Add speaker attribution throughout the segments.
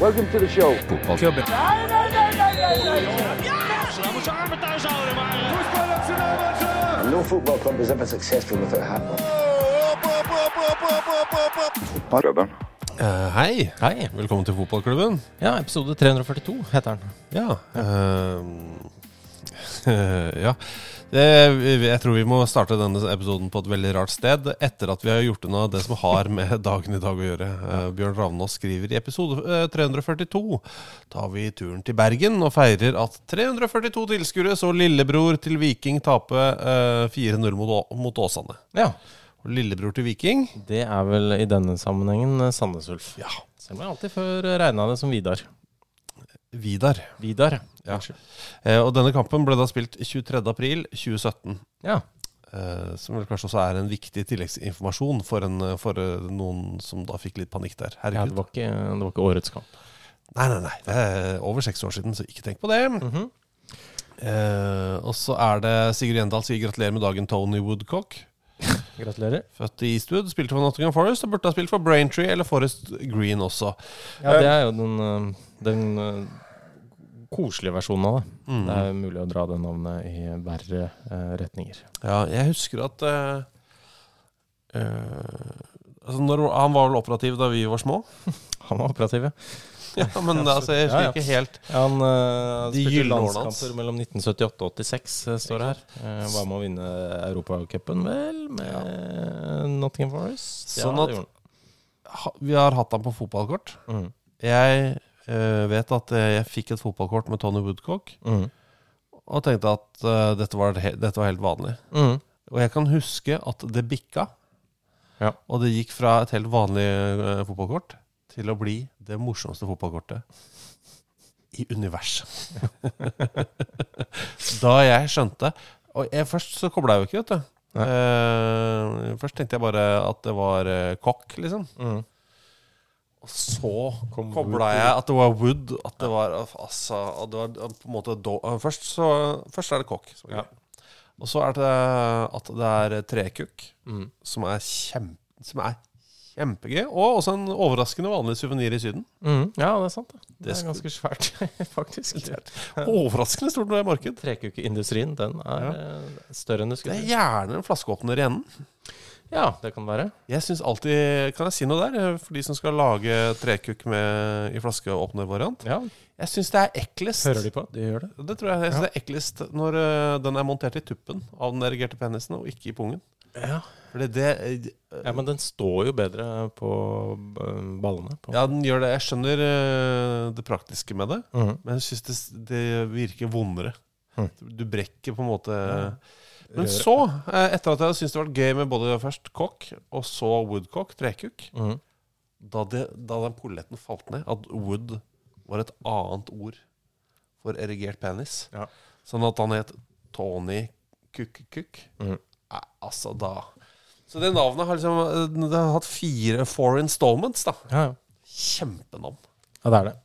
Speaker 1: Welcome to the show.
Speaker 2: Laten we zijn armen thuis houden, maar... eh,
Speaker 1: No football club was ever successful without Hartnell.
Speaker 3: Eh, hei. velkommen til fotballklubben.
Speaker 4: Ja, episode 342 heter den.
Speaker 3: Ja, eh, ja. Det, jeg tror vi må starte denne episoden på et veldig rart sted, etter at vi har gjort unna det som har med dagen i dag å gjøre. Eh, Bjørn Ravnås skriver i episode eh, 342 tar vi turen til Bergen og feirer at 342 tilskuere så lillebror til Viking tape eh, 4-0 mot, Å- mot Åsane.
Speaker 4: Ja.
Speaker 3: Og Lillebror til Viking?
Speaker 4: Det er vel i denne sammenhengen eh, Sandnes Ulf.
Speaker 3: Ja.
Speaker 4: Selv om jeg alltid før regna det som Vidar.
Speaker 3: Vidar.
Speaker 4: Vidar,
Speaker 3: Ja.
Speaker 4: Unnskyld.
Speaker 3: Eh, og denne kampen ble da spilt 23.4.2017.
Speaker 4: Ja.
Speaker 3: Eh, som vel kanskje også er en viktig tilleggsinformasjon for, en, eh, for eh, noen som da fikk litt panikk der.
Speaker 4: ja det,
Speaker 3: Herregud.
Speaker 4: var ikke, det var ikke årets kamp.
Speaker 3: Nei, nei, nei. Det er over seks år siden, så ikke tenk på det.
Speaker 4: Mhm.
Speaker 3: eh, og så er det Sigurd Gjendal sier gratulerer med dagen, Tony Woodcock.
Speaker 4: Gratulerer.
Speaker 3: Født i Eastwood, spilte for Nottingham Forest og burde ha spilt for Braintree eller Forest Green også.
Speaker 4: Ja, det er jo den, eh, den eh, koselige versjonen av det.
Speaker 3: Mm.
Speaker 4: Det er mulig å dra det navnet i verre eh, retninger.
Speaker 3: Ja, jeg husker at eh, eh, altså når, Han var vel operativ da vi var små?
Speaker 4: Han var operativ, ja.
Speaker 3: Ja, men altså, jeg husker
Speaker 4: Ja, ja.
Speaker 3: ikke helt
Speaker 4: Han eh,
Speaker 3: De
Speaker 4: spilte
Speaker 3: gylne årene hans.
Speaker 4: landskamper mellom 1978 og 86, eh, står det her. Eh, var med å vinne Europacupen, vel, med Nottingham Forest.
Speaker 3: Sånn
Speaker 4: det
Speaker 3: at-
Speaker 4: gjorde han.
Speaker 3: ha- Vi har hatt han på fotballkort.
Speaker 4: Mhm.
Speaker 3: Jeg eh, vet at eh, jeg fikk et fotballkort med Tony Woodcock,
Speaker 4: Mhm.
Speaker 3: og tenkte at eh, dette, var, he- dette var helt vanlig.
Speaker 4: Mhm.
Speaker 3: Og jeg kan huske at det bikka,
Speaker 4: Ja.
Speaker 3: og det gikk fra et helt vanlig eh, fotballkort til å bli det morsomste fotballkortet i universet. da jeg skjønte Og jeg, først så kobla jeg jo ikke, vet du. Eh, først tenkte jeg bare at det var eh, kokk, liksom.
Speaker 4: Mhm.
Speaker 3: Og så kobla jeg at det var Wood. At det var altså at det var på en måte do, først, så, først er det kokk. som er
Speaker 4: Ja.
Speaker 3: grei. Og så er det at det er trekukk,
Speaker 4: Mm.
Speaker 3: som, er kjem- som er kjempegøy. Og også en overraskende vanlig suvenir i Syden.
Speaker 4: Mhm. Ja, det er sant. Det, det er
Speaker 3: skulle-
Speaker 4: ganske svært, faktisk.
Speaker 3: Overraskende stort marked.
Speaker 4: Trekukeindustrien, den er eh, større enn du
Speaker 3: Det
Speaker 4: skulle
Speaker 3: er
Speaker 4: tro.
Speaker 3: gjerne en flaskeåpner i enden.
Speaker 4: Ja, det kan være.
Speaker 3: Jeg synes alltid, Kan jeg si noe der, eh, for de som skal lage trekukk med, i flaskeåpnervariant?
Speaker 4: Ja,
Speaker 3: Jeg syns det er eklest.
Speaker 4: Hører de på? De gjør det.
Speaker 3: Det tror jeg, jeg synes det er eklest når ø, den er montert i tuppen av den erigerte penisen, og ikke i pungen.
Speaker 4: Ja.
Speaker 3: Fordi det eh, ø,
Speaker 4: ja, men den står jo bedre på eh, ballene. På.
Speaker 3: Ja, den gjør det. Jeg skjønner ø, det praktiske med det,
Speaker 4: Mhm.
Speaker 3: men jeg syns det, s- det virker vondere.
Speaker 4: Mhm.
Speaker 3: Du brekker på en måte Men så, ø, etter at jeg syntes det var gøy med både først kokk og så woodcock, trekukk,
Speaker 4: Mhm.
Speaker 3: da, det, da den polletten falt ned, at wood var et annet ord for erigert penis,
Speaker 4: Ja.
Speaker 3: sånn at han het Tony Kukk-Kukk,
Speaker 4: Mhm.
Speaker 3: Nei, altså da Så det navnet har liksom eh, Det har hatt fire four installments, da.
Speaker 4: Ja, ja.
Speaker 3: Kjempenavn.
Speaker 4: ja, det er det.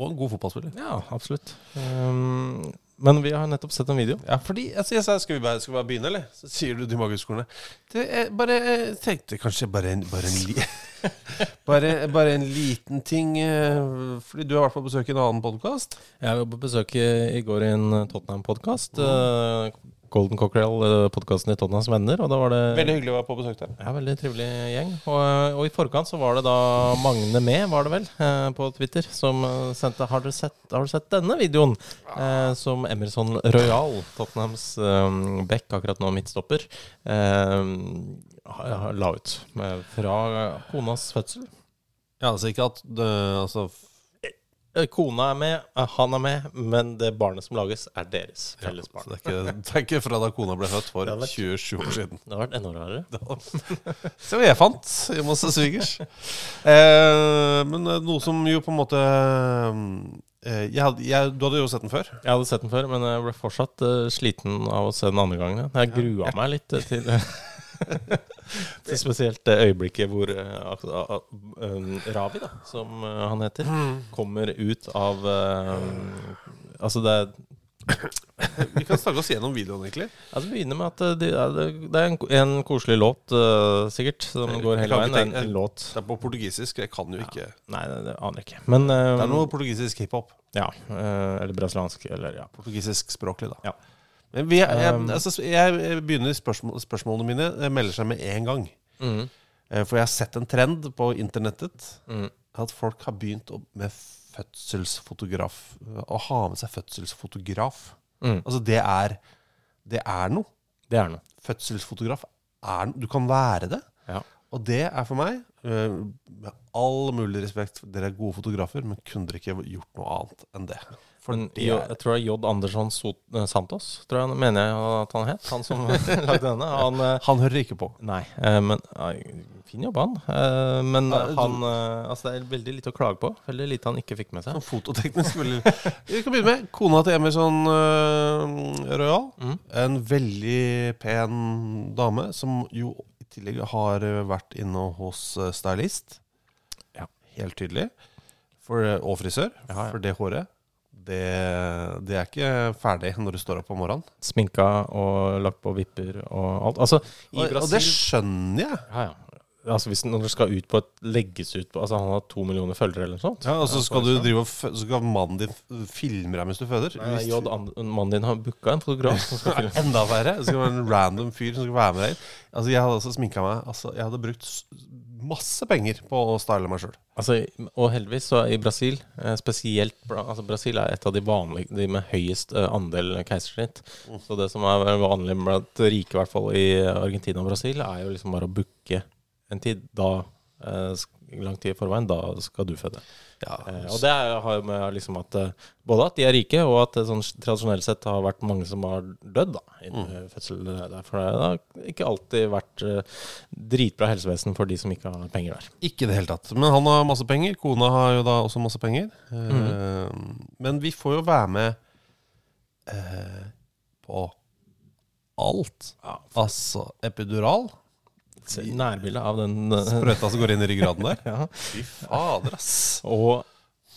Speaker 3: Og en god fotballspiller.
Speaker 4: Ja, absolutt. Ehm, men vi har nettopp sett en video.
Speaker 3: Ja, fordi altså, jeg sa skal vi, bare, skal vi bare begynne, eller? Så sier du de magiske ordene. Det er bare Jeg tenkte kanskje bare en, bare en, li bare, bare en liten ting eh, Fordi du har vært på besøk i en annen podkast.
Speaker 4: Jeg var på besøk i, i går i en Tottenham-podkast. eh, Golden Cockerel-podkasten i Tottenhams Venner, og da var det
Speaker 3: Veldig hyggelig å være på besøk der.
Speaker 4: ja, veldig trivelig gjeng. Og, og i forkant så var det da Magne Med, var det vel, eh, på Twitter, som eh, sendte Har du sett, har du sett denne videoen? Eh, som Emerson Royal, Tottenhams eh, back, akkurat nå midtstopper, eh, ha- ha- la ut med, fra konas fødsel.
Speaker 3: Ja, altså ikke at det, altså,
Speaker 4: Eh, Kona er med, eh, han er med, men det barnet som lages, er deres felles
Speaker 3: så
Speaker 4: barn.
Speaker 3: det, er ikke, det er ikke fra da kona ble født for
Speaker 4: Det hadde
Speaker 3: 27 år siden.
Speaker 4: Det har vært enda rarere.
Speaker 3: Se hva jeg fant hjemme hos svigers. Eh, men eh, noe som jo på en måte eh, jeg hadde, jeg, Du hadde jo sett den før.
Speaker 4: Jeg hadde sett den før, men jeg ble fortsatt eh, sliten av å se den andre gangen. Jeg grua meg litt eh, til Til spesielt det øyeblikket hvor eh, ak- a- a- um, Ravi, da, som eh, han heter,
Speaker 3: Mm.
Speaker 4: kommer ut av eh, Altså, det er
Speaker 3: Vi kan snakke oss gjennom videoen, egentlig.
Speaker 4: ja, Det begynner med at eh, de, ja, det- det er en, en koselig låt, eh, sikkert, som går
Speaker 3: Jeg
Speaker 4: hele
Speaker 3: kan
Speaker 4: veien.
Speaker 3: ikke
Speaker 4: Det er en,
Speaker 3: tenke-
Speaker 4: en låt.
Speaker 3: Det er på portugisisk, jeg kan jo ikke Det
Speaker 4: Nei, det, det aner jeg ikke. Men eh,
Speaker 3: er noe portugisisk hiphop.
Speaker 4: Ja. eh, eller brasiliansk, eller ja.
Speaker 3: Portugisisk språklig, da.
Speaker 4: Ja. Um,
Speaker 3: Men vi, jeg, altså, jeg begynner spørsmål, spørsmålene mine eh, melder seg med en gang.
Speaker 4: Mm.
Speaker 3: Eh, For jeg har sett en trend på internettet at folk har begynt å, med fødselsfotograf. Å ha med seg fødselsfotograf.
Speaker 4: Mm.
Speaker 3: Altså, det er, det er noe.
Speaker 4: Det er noe.
Speaker 3: Fødselsfotograf er noe. Du kan være det.
Speaker 4: Ja.
Speaker 3: Og det er for meg, eh, med all mulig respekt, dere er gode fotografer, men kunne dere ikke gjort noe annet enn det? For
Speaker 4: Men
Speaker 3: det
Speaker 4: jo,
Speaker 3: er-
Speaker 4: jeg tror det er J. Andersson Sot eh, Santos, tror jeg, mener jeg at han het. Han som lagde denne. Han, eh,
Speaker 3: han hører ikke på.
Speaker 4: nei, eh, men ai, Fin jobb, han. Eh, Men
Speaker 3: Ja, jeg
Speaker 4: han eh, Altså, det er veldig lite å klage på. Veldig lite han ikke fikk med seg.
Speaker 3: Sånn fototeknisk veldig Vi kan begynne med kona til Emerson uh, Royal. En veldig pen dame som jo i tillegg har eh, vært inne hos eh, stylist.
Speaker 4: Ja.
Speaker 3: Helt tydelig. For, eh, og frisør.
Speaker 4: Ja, ja.
Speaker 3: For det håret, det, det er ikke ferdig når du står opp om morgenen.
Speaker 4: Sminka og lagt på vipper og alt. Altså, i
Speaker 3: Og, og det
Speaker 4: Brasil
Speaker 3: skjønner jeg.
Speaker 4: ja, ja. Altså, hvis, Når du skal ut på et legges ut på Altså, han har to millioner følgere eller noe sånt.
Speaker 3: Ja, og så skal, du drive og fø- så skal mannen din f- filme deg mens du føder.
Speaker 4: Nei,
Speaker 3: Hvis-
Speaker 4: J. And- Mannen din har booka en fotograf som skal filme.
Speaker 3: Enda verre. Det skal være en random fyr som skal være med deg. Altså, jeg hadde også sminka meg. Altså, jeg hadde brukt s- masse penger på å style meg sjøl.
Speaker 4: Altså, og heldigvis så i Brasil eh, Spesielt bra- altså Brasil er et av de vanlige De med høyest eh, andel keisersnitt. Så det som er vanlig blant rike, i hvert fall i Argentina og Brasil, er jo liksom bare å booke en tid. Da eh, sk- lang tid i forveien, da skal du føde. Eh, og det er- har jo med liksom at eh, både at de er rike, og at det sånn tradisjonelt sett har vært mange som har dødd da, innen eh, fødsel. Derfor har det ikke alltid vært eh, dritbra helsevesen for de som ikke har penger der.
Speaker 3: Ikke i det hele tatt. Men han har masse penger. Kona har jo da også masse penger. Eh, Men vi får jo være med eh, på alt. Altså epidural.
Speaker 4: Se Nærbildet av den eh,
Speaker 3: Sprøyta som går inn i ryggraden der.
Speaker 4: ja.
Speaker 3: Fader, ass.
Speaker 4: Og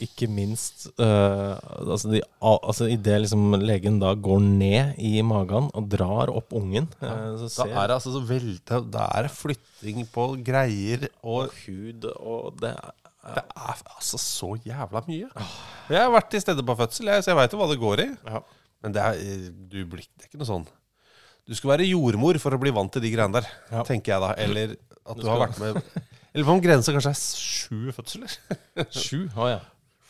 Speaker 4: ikke minst eh, altså, de, al- altså i det liksom legen da går ned i magen og drar opp ungen eh, Så
Speaker 3: Da
Speaker 4: ser
Speaker 3: er det altså så velte, da er det flytting på greier og
Speaker 4: hud og det er
Speaker 3: Det er altså så jævla mye. Jeg har vært til stede på fødsel, jeg, så jeg veit jo hva det går i. Men det er, eh, du blir, det er ikke noe sånn Du skal være jordmor for å bli vant til de greiene der,
Speaker 4: Ja.
Speaker 3: tenker jeg da. Eller at du, har vært med Eller på en grense kanskje er sju fødsler.
Speaker 4: Sju, å ja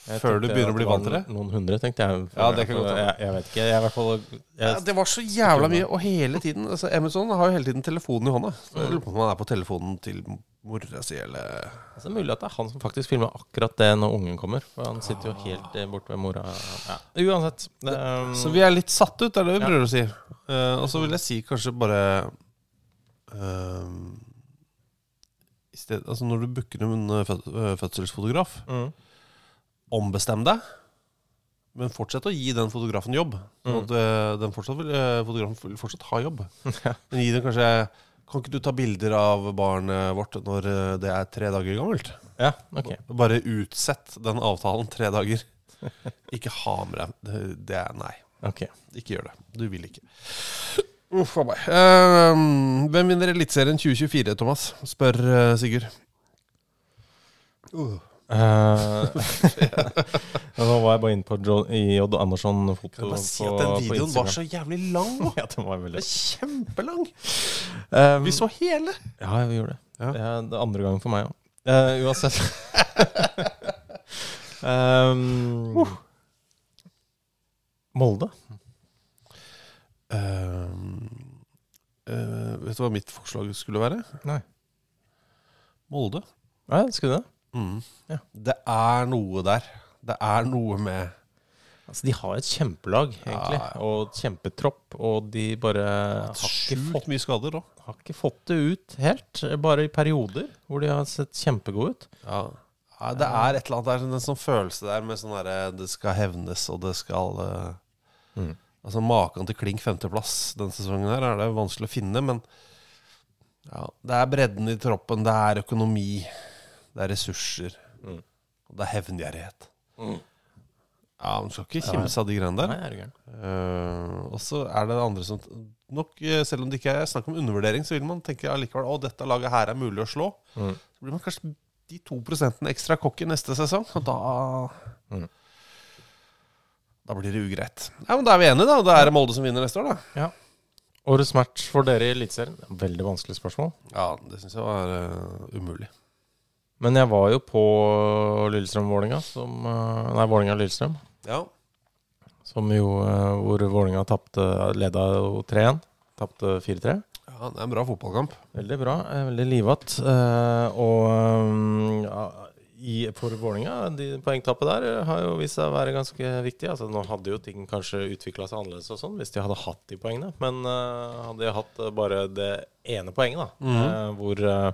Speaker 4: Jeg
Speaker 3: Før du
Speaker 4: tenkte
Speaker 3: begynner å
Speaker 4: at
Speaker 3: bli
Speaker 4: var
Speaker 3: vant til det?
Speaker 4: Noen hundre, tenkte jeg
Speaker 3: Ja, det kan godt
Speaker 4: jeg,
Speaker 3: hende.
Speaker 4: jeg vet ikke, jeg er i hvert fall jeg,
Speaker 3: Ja, det var så jævla mye, og hele tiden altså, Emerson har jo hele tiden telefonen i hånda. Så
Speaker 4: Mm.
Speaker 3: Jeg lurer på om han er på telefonen til mora si, eller
Speaker 4: altså, Det er mulig at det er han som faktisk filmer akkurat det når ungen kommer For han sitter jo helt eh, bort ved mora ja. Uansett det, eh,
Speaker 3: Så vi er litt satt ut, er det vi prøver å si. Eh, og så vil jeg si kanskje bare eh, i sted, altså Når du booker en eh, fød- eh, fødselsfotograf, ombestem deg. Men fortsett å gi den fotografen jobb. Sånn at eh, den fortsatt vil, eh, fotografen vil fortsatt ha jobb. Men gi den kanskje Kan ikke du ta bilder av barnet vårt når eh, det er tre dager gammelt?
Speaker 4: ja, ok
Speaker 3: Bare utsett den avtalen tre dager. Ikke ha med deg det- Det er nei.
Speaker 4: Ok.
Speaker 3: Ikke gjør det. Du vil ikke. Uff a meg. Ehm, hvem vinner Eliteserien 2024, Thomas? spør eh, Sigurd. Uh.
Speaker 4: Eh, Nå var jeg bare inne på Jo- i Odd Andersson foto
Speaker 3: Kan jeg bare si
Speaker 4: på-
Speaker 3: at den
Speaker 4: på
Speaker 3: videoen
Speaker 4: Instagram.
Speaker 3: var så jævlig lang nå?
Speaker 4: Ja, den var
Speaker 3: Det
Speaker 4: veldig
Speaker 3: er kjempelang!
Speaker 4: Um,
Speaker 3: Vi så hele!
Speaker 4: Ja, vi gjorde det.
Speaker 3: Ja.
Speaker 4: Det er det andre gangen for meg òg. Eh, uansett. um,
Speaker 3: Uh.
Speaker 4: Molde?
Speaker 3: Ehm, eh, vet du hva mitt forslag skulle være?
Speaker 4: Nei.
Speaker 3: Molde.
Speaker 4: Ja, skulle det?
Speaker 3: Det er noe der. Det er noe med
Speaker 4: Altså, de har et kjempelag, egentlig,
Speaker 3: Ja, ja.
Speaker 4: og et kjempetropp. Og de bare har ikke,
Speaker 3: sjukt
Speaker 4: fått,
Speaker 3: mye skader òg.
Speaker 4: har ikke fått det ut helt. Bare i perioder hvor de har sett kjempegode ut.
Speaker 3: Ja. Ja, det er et eller annet der, en sånn følelse der med sånn derre Det skal hevnes, og det skal eh,
Speaker 4: Mm.
Speaker 3: Altså Maken til klink femteplass denne sesongen her er det vanskelig å finne, men ja, det er bredden i troppen, det er økonomi, det er ressurser,
Speaker 4: Mm.
Speaker 3: og det er hevngjerrighet. Ja, man skal ikke kimse av de greiene der.
Speaker 4: Nei, er du gæren.
Speaker 3: Eh, og så er det andre som nok, eh, Selv om det ikke er snakk om undervurdering, så vil man tenke allikevel at dette laget her er mulig å slå. Så blir man kanskje de to prosentene ekstra cocky neste sesong, og da Mm. Da blir det ugreit. Ja, men Da er vi enige, da. Da er det Molde som vinner neste år, da.
Speaker 4: Ja. Årets match for dere i Eliteserien? Veldig vanskelig spørsmål.
Speaker 3: Ja, det syns jeg var eh, umulig.
Speaker 4: Men jeg var jo på Lillestrøm-Vålinga, som eh, Nei, Vålinga-Lillestrøm.
Speaker 3: Ja.
Speaker 4: Som jo eh, Hvor Vålinga tapte Leda jo 3-1. Tapte 4-3.
Speaker 3: ja, det er en bra fotballkamp.
Speaker 4: Veldig bra. eh, Veldig livat. Eh, og um, ja, i, for Vålinga, de poengtapet der eh, har jo vist seg å være ganske viktig. Altså, nå hadde jo ting kanskje utvikla seg annerledes og sånn hvis de hadde hatt de poengene. Men eh, hadde de hatt eh, bare det ene poenget, da, eh, hvor, eh,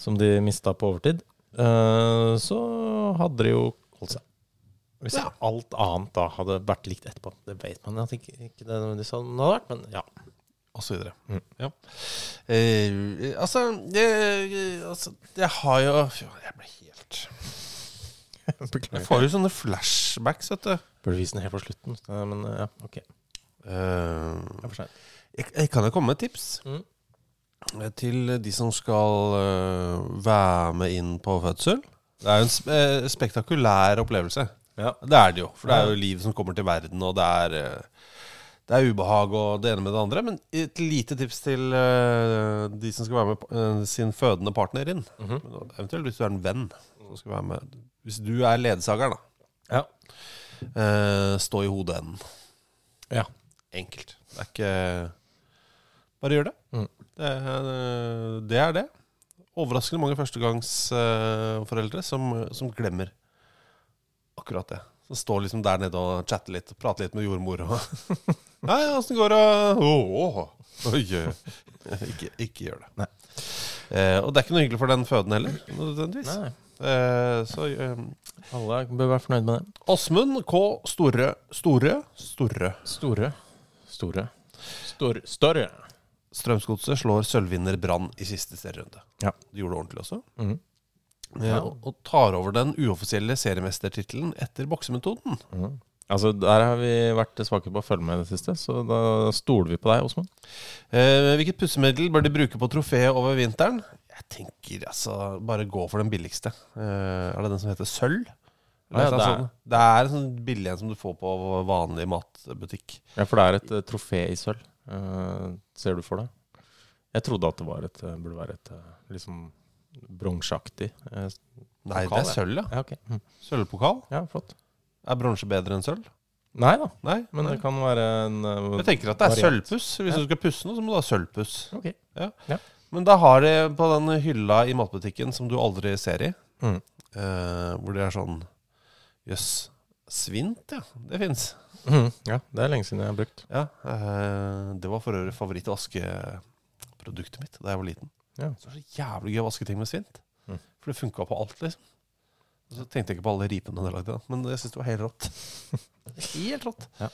Speaker 4: som de mista på overtid, eh, så hadde de jo holdt seg. Hvis
Speaker 3: Ja.
Speaker 4: alt annet da hadde vært likt etterpå. Det vet man at ikke, ikke det nødvendigvis sånn hadde vært, men ja.
Speaker 3: og så videre. Ja. Eh, altså, jeg, altså Jeg har jo fy, Jeg ble helt Jeg får jo sånne flashbacks, vet du.
Speaker 4: Burde vise den helt på slutten, eh, men eh, ja, ok.
Speaker 3: Eh,
Speaker 4: Det er for sent.
Speaker 3: jeg, jeg kan jo komme med et tips
Speaker 4: Mm.
Speaker 3: Eh, til de som skal eh, være med inn på fødsel. Det er jo en sp eh, spektakulær opplevelse.
Speaker 4: Ja.
Speaker 3: Det er det jo. For det er jo liv som kommer til verden, og det er eh, det er ubehag og det ene med det andre, men et lite tips til eh, de som skal være med pa- eh, sin fødende partner inn. Eventuelt hvis du er en venn som skal være med. Hvis du er ledsageren, da.
Speaker 4: Ja.
Speaker 3: eh, stå i hodeenden.
Speaker 4: Ja.
Speaker 3: Enkelt. Det er ikke Bare gjør det.
Speaker 4: Mhm.
Speaker 3: Det, er, eh, det er det. Overraskende mange førstegangsforeldre som, som glemmer akkurat det. Som står liksom der nede og chatter litt, prater litt med jordmor og Ja, ja, åssen går det? Åh, åh. Oi, eh. ikke, ikke gjør det.
Speaker 4: Nei.
Speaker 3: Eh, og det er ikke noe hyggelig for den fødende heller, nødvendigvis.
Speaker 4: Nei,
Speaker 3: Eh, så eh,
Speaker 4: alle bør være fornøyd med det.
Speaker 3: Åsmund K. Storø Storø? Storø.
Speaker 4: Store. Store. Stor, større.
Speaker 3: Strømsgodset slår sølvvinner Brann i siste serierunde.
Speaker 4: Ja.
Speaker 3: De gjorde det ordentlig også.
Speaker 4: Mhm.
Speaker 3: Eh, og- og tar over den uoffisielle seriemestertittelen etter boksemetoden.
Speaker 4: Altså, der har vi vært svake på å følge med i det siste, så da stoler vi på deg, Osman.
Speaker 3: Eh, hvilket pussemiddel bør de bruke på trofeet over vinteren? Jeg tenker altså bare gå for den billigste. Eh, er det den som heter sølv? Eller
Speaker 4: Ja,
Speaker 3: noe
Speaker 4: det
Speaker 3: sånt?
Speaker 4: er-
Speaker 3: det er en sånn billig en som du får på vanlig matbutikk.
Speaker 4: Ja, for det er et eh, trofé i sølv. Eh, ser du for deg? Jeg trodde at det var et, eh, burde være et eh, liksom bronseaktig eh,
Speaker 3: Nei,
Speaker 4: Pokal,
Speaker 3: det er sølv, ja.
Speaker 4: Ja, ok. Mm.
Speaker 3: Sølvpokal.
Speaker 4: Ja, flott.
Speaker 3: Er bronse bedre enn sølv?
Speaker 4: Nei da,
Speaker 3: Nei,
Speaker 4: men det kan være en eh,
Speaker 3: Jeg tenker at det er
Speaker 4: variant.
Speaker 3: sølvpuss. Hvis du skal pusse noe, så må du ha sølvpuss.
Speaker 4: Ok.
Speaker 3: Ja.
Speaker 4: Ja.
Speaker 3: Men da har de på den hylla i matbutikken som du aldri ser i,
Speaker 4: Mm.
Speaker 3: eh, hvor det er sånn Jøss, svint, ja. Det fins.
Speaker 4: Mhm, Ja, det er lenge siden jeg har brukt.
Speaker 3: Ja, eh, det var for øvrig favorittvaskeproduktet mitt da jeg var liten.
Speaker 4: Ja.
Speaker 3: Så det var så jævlig gøy å vaske ting med svint.
Speaker 4: Mm.
Speaker 3: For det funka på alt, liksom. Og så tenkte jeg ikke på alle ripene det lagde, da, men jeg syns det var helt rått. helt rått.
Speaker 4: Ja.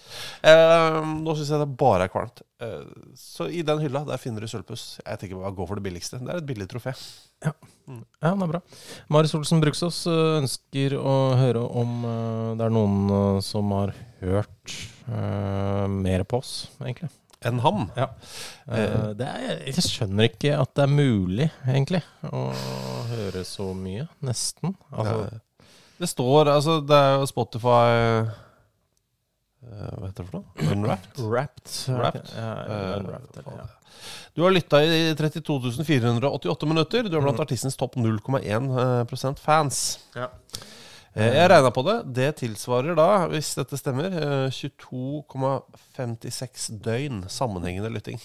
Speaker 3: Eh, nå syns jeg det bare er kvalmt. Eh, så i den hylla der finner du sølvpuss. Jeg tenker bare gå for det billigste. Det er et billig trofé.
Speaker 4: Ja, det er bra. Marius Olsen Bruksås ø, ønsker å høre om ø, det er noen ø, som har hørt ø, mer på oss, egentlig.
Speaker 3: En ham.
Speaker 4: Ja. Eh, Det er, jeg skjønner ikke at det er mulig, egentlig, å høre så mye. Nesten. Altså,
Speaker 3: Eh, Det står altså Det er jo Spotify eh, Hva heter det for noe? Unwrapped?
Speaker 4: Wrapped.
Speaker 3: Wrapped.
Speaker 4: Ja,
Speaker 3: Eh,
Speaker 4: unwrapped, eller, ja.
Speaker 3: Du har lytta i 32 488 minutter. Du er blant artistens topp 0,1 eh, prosent fans.
Speaker 4: Ja.
Speaker 3: Eh, Jeg regna på det. Det tilsvarer da, hvis dette stemmer, eh, 22,56 døgn sammenhengende lytting.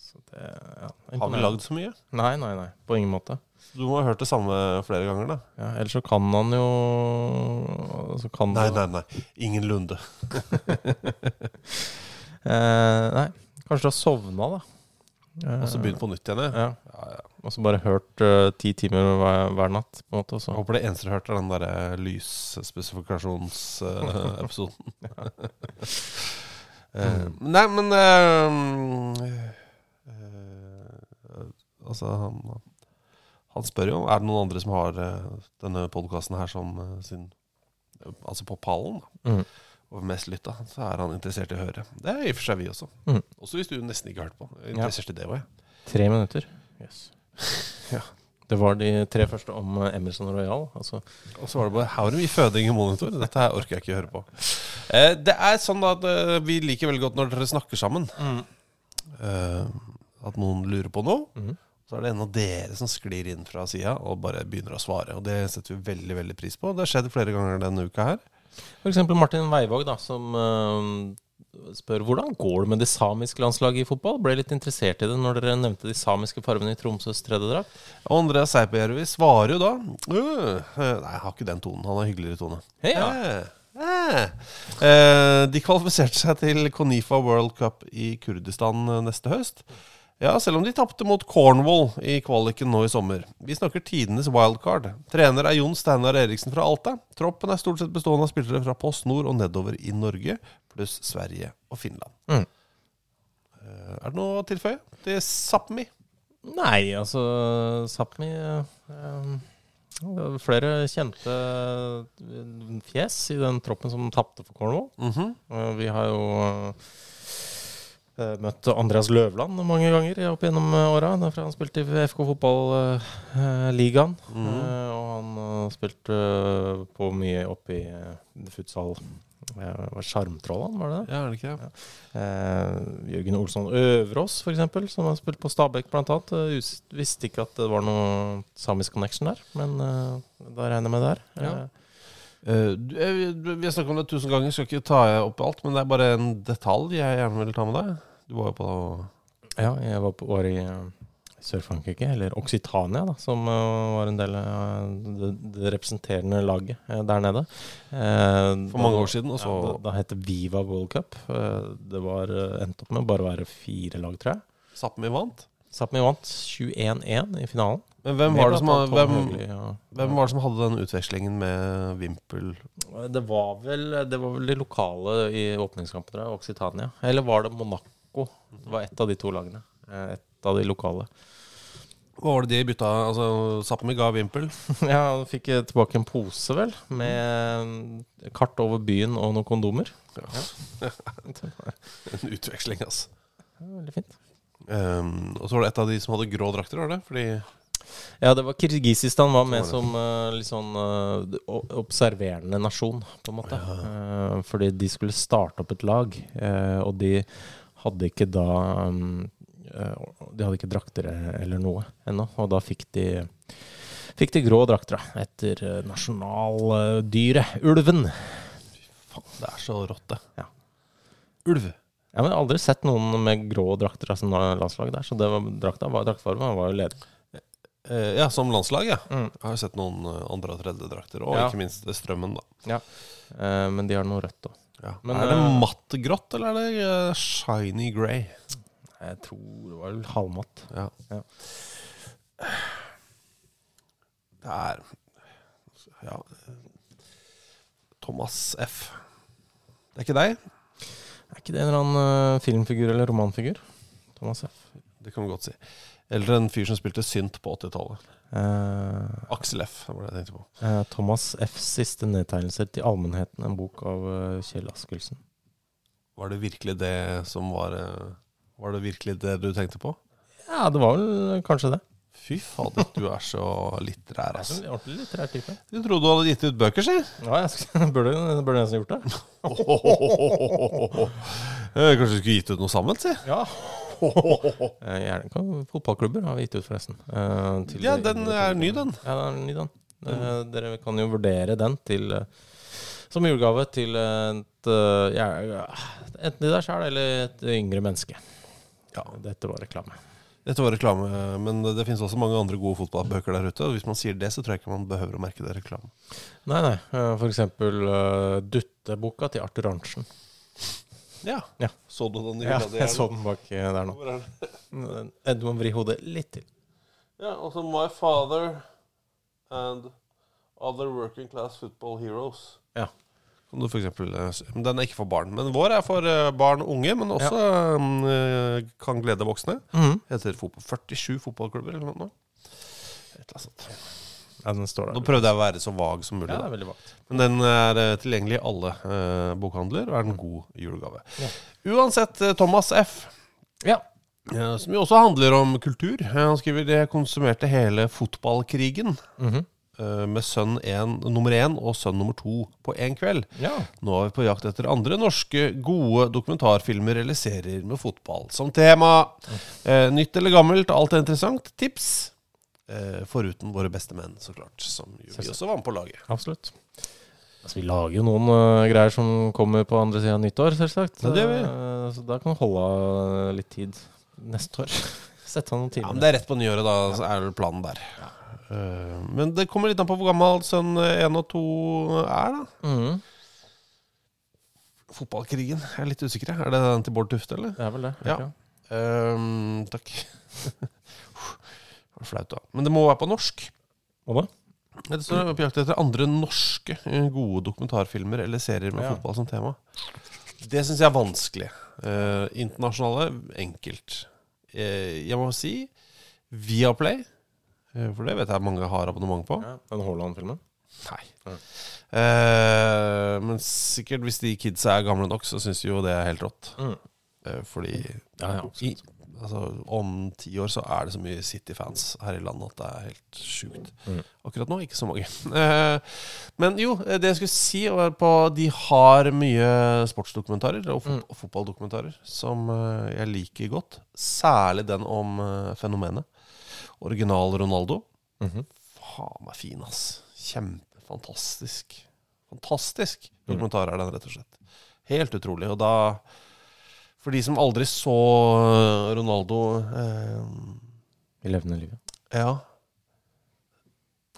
Speaker 4: Så det, ja.
Speaker 3: Har vi lagd så mye?
Speaker 4: Nei, nei, nei. På ingen måte.
Speaker 3: Du må ha hørt det samme flere ganger, da.
Speaker 4: Ja, ellers så kan han jo så kan
Speaker 3: Nei,
Speaker 4: det-
Speaker 3: nei, nei. Ingenlunde.
Speaker 4: Eh, nei. Kanskje du har sovna, da. Eh,
Speaker 3: Og så begynn på nytt igjen. jeg.
Speaker 4: Ja. Og så bare hørt eh, ti timer hver, hver natt, på en måte. Og
Speaker 3: Jeg
Speaker 4: så.
Speaker 3: håper det eneste du hørte, er den derre lysspesifikasjonsepisoden. Nei, men eh, eh, Altså, han, han spør jo om er det noen andre som har eh, denne podkasten her som eh, sin Altså på pallen, da.
Speaker 4: Mhm.
Speaker 3: Og mest lytta, så er han interessert i å høre. Det er i og for seg vi også.
Speaker 4: Mhm.
Speaker 3: Også hvis du nesten ikke har hørt på. Jeg er Interessert i det også, jeg.
Speaker 4: Tre minutter. ja. Det var de tre første om eh, Emerson Royal. Altså,
Speaker 3: Og så var det bare How do we føding i monitor? Dette her orker jeg ikke høre på. Eh, det er sånn da at eh, vi liker veldig godt når dere snakker sammen. Eh, at noen lurer på noe. Så er det en av dere som sklir inn fra sida og bare begynner å svare. Og det setter vi veldig veldig pris på. Det har skjedd flere ganger denne uka her.
Speaker 4: for eksempel Martin Weivåg, da, som eh, spør hvordan går det med det samiske landslaget i fotball. Ble litt interessert i det når dere nevnte de samiske fargene i Tromsøs tredjedrakt.
Speaker 3: Og Andreas Seipajärvi svarer jo da «Øh, eh, Nei, jeg har ikke den tonen. Han har hyggeligere tone.
Speaker 4: Ja.
Speaker 3: Eh, eh. Eh, De kvalifiserte seg til Konifa World Cup i Kurdistan eh, neste høst. Ja, selv om de tapte mot Cornwall i kvaliken nå i sommer. Vi snakker tidenes wildcard. Trener er Jon Steinar Eriksen fra Alta. Troppen er stort sett bestående av spillere fra Post Nord og nedover i Norge, pluss Sverige og Finland.
Speaker 4: Mm.
Speaker 3: Eh, Er det noe å tilføye? Det er Sápmi.
Speaker 4: Nei, altså Sápmi eh, eh, det var Flere kjente eh, fjes i den troppen som tapte for Cornwall. Eh, Vi har jo eh, møtt Andreas Løvland mange ganger opp gjennom eh, åra. Derfor han spilte i FK Fotballligaen. og han eh, spilte eh, på mye opp i eh, futsal. Eh, var Sjarmtrollen, var det det?
Speaker 3: Ja, er det ikke det?
Speaker 4: Eh, Jørgen Olsson Øverås, for eksempel, som har spilt på Stabæk blant annet. eh, us- visste ikke at det var noe samisk connection der, men eh, da regner jeg med det er.
Speaker 3: Ja.
Speaker 4: Eh,
Speaker 3: Eh, du- eh, vi- du- Vi har snakket om det tusen ganger, skal ikke ta opp alt, men det er bare en detalj jeg gjerne vil ta med deg. Du var jo på
Speaker 4: ja, jeg var, på, var i eh, Sør-Frankrike, eller Occitania, da, som eh, var en del av det, det representerende laget eh, der nede. Eh,
Speaker 3: for
Speaker 4: da-
Speaker 3: mange år siden, altså. og
Speaker 4: Ja, da,
Speaker 3: så
Speaker 4: da het det Viva Gold Cup. Eh, det var eh, endte opp med bare å være fire lag, tror jeg.
Speaker 3: Sápmi vant.
Speaker 4: Sápmi vant 21-1 i finalen.
Speaker 3: Men hvem var, det som,
Speaker 4: Med blant annet
Speaker 3: hvem,
Speaker 4: Tom Høgli og-
Speaker 3: hvem var det som hadde den utvekslingen med Vimpel?
Speaker 4: Det var vel Det var vel de lokale i åpningskampen, tror jeg. Occitania. Eller var det Monaco? Det var ett av de to lagene. Eh, Et av de lokale.
Speaker 3: Hva var det de bytta? Altså, Sápmi ga Vimpel.
Speaker 4: Ja, og fikk eh, tilbake en pose, vel, med eh, kart over byen og noen kondomer.
Speaker 3: En utveksling, altså.
Speaker 4: Ja, Veldig fint.
Speaker 3: Ehm, og så var det et av de som hadde grå drakter, var det? Fordi
Speaker 4: Ja, det var Kirgisistan var med som eh, litt sånn eh, o- observerende nasjon, på en måte. Eh, fordi de skulle starte opp et lag, eh, og de hadde ikke da um, eh, De hadde ikke drakter eh, eller noe ennå, og da fikk de Fikk de grå drakter da, etter eh, nasjonaldyret, ulven.
Speaker 3: Faen, det er så rått, det.
Speaker 4: Ja.
Speaker 3: Ulv.
Speaker 4: Ja, men Jeg har aldri sett noen med grå drakter av landslaget der, så det var, drakta var, draktfargen var jo ledig.
Speaker 3: Eh, ja, som landslag, ja. Jeg har jo sett noen eh, andre og tredje drakter, og
Speaker 4: Ja.
Speaker 3: ikke minst eh, Strømmen, da.
Speaker 4: Eh, men de har noe rødt òg.
Speaker 3: Ja.
Speaker 4: Men,
Speaker 3: er det
Speaker 4: eh,
Speaker 3: matt grått, eller er det eh, shiny grey?
Speaker 4: Jeg tror det var vel halvmatt.
Speaker 3: Ja.
Speaker 4: Ja.
Speaker 3: Det er Ja. Thomas F. Det er ikke deg?
Speaker 4: Er ikke det en eller annen eh, filmfigur eller romanfigur? Thomas F.
Speaker 3: Det kan vi godt si. Eller en fyr som spilte synt på 80-tallet.
Speaker 4: Eh,
Speaker 3: Aksel F. Det var det jeg tenkte på.
Speaker 4: eh, Thomas Fs siste nedtegnelser til allmennheten, en bok av eh, Kjell Askelsen.
Speaker 3: Var det virkelig det som var eh, Var det virkelig det du tenkte på?
Speaker 4: Ja, det var vel eh, kanskje det.
Speaker 3: Fy fader, du er så litterær,
Speaker 4: Jeg er
Speaker 3: altså.
Speaker 4: en ordentlig litterær type.
Speaker 3: Du trodde du hadde gitt ut bøker, si?
Speaker 4: Ja, jeg skulle- burde, burde nesten gjort det.
Speaker 3: Eh, Kanskje du skulle gitt ut noe sammen, si?
Speaker 4: Ja. Eh, Gjerne kan fotballklubber har vi gitt ut, forresten. Eh, til-
Speaker 3: Ja, den er ny, den.
Speaker 4: Ja, det er en ny den. Eh, Dere kan jo vurdere den til eh, som julegave til eh, et, eh, ja, enten de der sjøl eller et yngre menneske. Ja, dette var reklame.
Speaker 3: Dette var reklame, men det finnes også mange andre gode fotballbøker der ute. Og hvis man sier det, så tror jeg ikke man behøver å merke det reklame.
Speaker 4: Nei, nei. eh, For eksempel eh, Dutteboka til Arthur Arntzen.
Speaker 3: Ja.
Speaker 4: Ja.
Speaker 3: Så du den i
Speaker 4: Ja,
Speaker 3: hylla di?
Speaker 4: jeg så den bak eh, der nå.
Speaker 3: Hvor er den?
Speaker 4: Eh, Du må vri hodet litt til.
Speaker 3: Ja, altså My Father and Other Working Class Football Heroes.
Speaker 4: Ja.
Speaker 3: Kan du for eksempel, eh, s- men den er ikke for barn. Men vår er for eh, barn og unge, men også eh, kan glede voksne.
Speaker 4: Mhm.
Speaker 3: Heter fotball, 47 fotballklubber eller noe. Et eller annet sånt.
Speaker 4: ja, den står
Speaker 3: Nå
Speaker 4: der.
Speaker 3: prøvde jeg å være så vag som mulig.
Speaker 4: Ja, det
Speaker 3: da.
Speaker 4: er veldig vagt.
Speaker 3: Men den er eh, tilgjengelig i alle eh, bokhandler og er en god julegave. Uansett, eh, Thomas F.
Speaker 4: Ja.
Speaker 3: eh, Som jo også handler om kultur. Eh, Han skriver det konsumerte hele fotballkrigen eh, med sønn en, nummer én og sønn nummer to på én kveld.
Speaker 4: Ja.
Speaker 3: Nå er vi på jakt etter andre norske gode dokumentarfilmer eller serier med fotball som tema. Eh, nytt eller gammelt, alt er interessant. Tips. Eh, foruten våre beste menn, så klart, som jo vi også var med på laget.
Speaker 4: Absolutt. Altså, vi lager jo noen øh, greier som kommer på andre sida av nyttår, selvsagt.
Speaker 3: Ja, det gjør vi.
Speaker 4: Eh, så da kan du holde av eh, litt tid neste år. Sette av noen
Speaker 3: Ja,
Speaker 4: timer.
Speaker 3: men Det er rett på nyåret, da, så er vel planen der. Eh, men det kommer litt an på hvor gammel sønn én og to er, da.
Speaker 4: Mhm,
Speaker 3: Fotballkrigen, jeg er litt usikker. jeg. Er det den til Bård Tufte, eller?
Speaker 4: det er vel det.
Speaker 3: Ja.
Speaker 4: ikke?
Speaker 3: Ehm, takk. Det var Flaut, da. Men det må være på norsk.
Speaker 4: Og da?
Speaker 3: Det står på jakt etter andre norske eh, gode dokumentarfilmer eller serier med
Speaker 4: Ja.
Speaker 3: fotball som tema. Det syns jeg er vanskelig. Eh, internasjonale, enkelt. Eh, jeg må si Viaplay, eh, for det vet jeg mange har abonnement på.
Speaker 4: Den Haaland-filmen?
Speaker 3: Nei. Eh, men sikkert hvis de kidsa er gamle nok, så syns de jo det er helt rått. Eh, fordi
Speaker 4: Mm. Ja, ja,
Speaker 3: i, altså, om ti år så er det så mye City-fans her i landet at det er helt sjukt.
Speaker 4: Mm.
Speaker 3: Akkurat nå ikke så mange. Eh, men jo, eh, det jeg skulle si var på De har mye sportsdokumentarer og fot
Speaker 4: Mm.
Speaker 3: og fotballdokumentarer som eh, jeg liker godt. Særlig den om eh, fenomenet. Original Ronaldo. Faen meg fin, ass. Kjempefantastisk. Fantastisk dokumentar er den, rett og slett. Helt utrolig. Og da For de som aldri så eh, Ronaldo eh,
Speaker 4: I levende livet.
Speaker 3: Ja.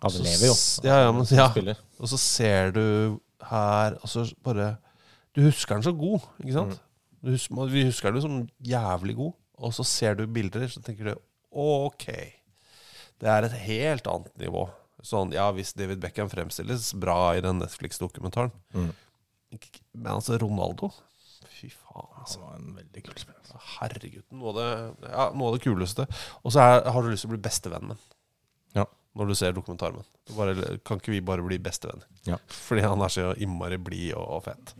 Speaker 4: Ja,
Speaker 3: så
Speaker 4: den Altså, lever jo.
Speaker 3: Altså, s- Ja, ja, men, ja.
Speaker 4: Spiller.
Speaker 3: Og så ser du her Og så bare Du husker den så god, ikke sant?
Speaker 4: Mm.
Speaker 3: Du hus- man- vi husker den jo som jævlig god. Og så ser du bilder, så tenker du OK. Det er et helt annet nivå. Sånn, ja, hvis David Beckham fremstilles bra i den Netflix-dokumentaren
Speaker 4: Mm.
Speaker 3: Ikke- Men altså, Ronaldo Fy faen, altså.
Speaker 4: Han var en veldig kul spiller. altså.
Speaker 3: Herregud. Noe av det, ja, noe av det kuleste. Og så er- har du lyst til å bli bestevenn med den
Speaker 4: Ja.
Speaker 3: når du ser dokumentaren min. Du Bare, kan ikke vi bare bli bestevenner?
Speaker 4: Ja.
Speaker 3: Fordi han er så innmari blid og, og fet.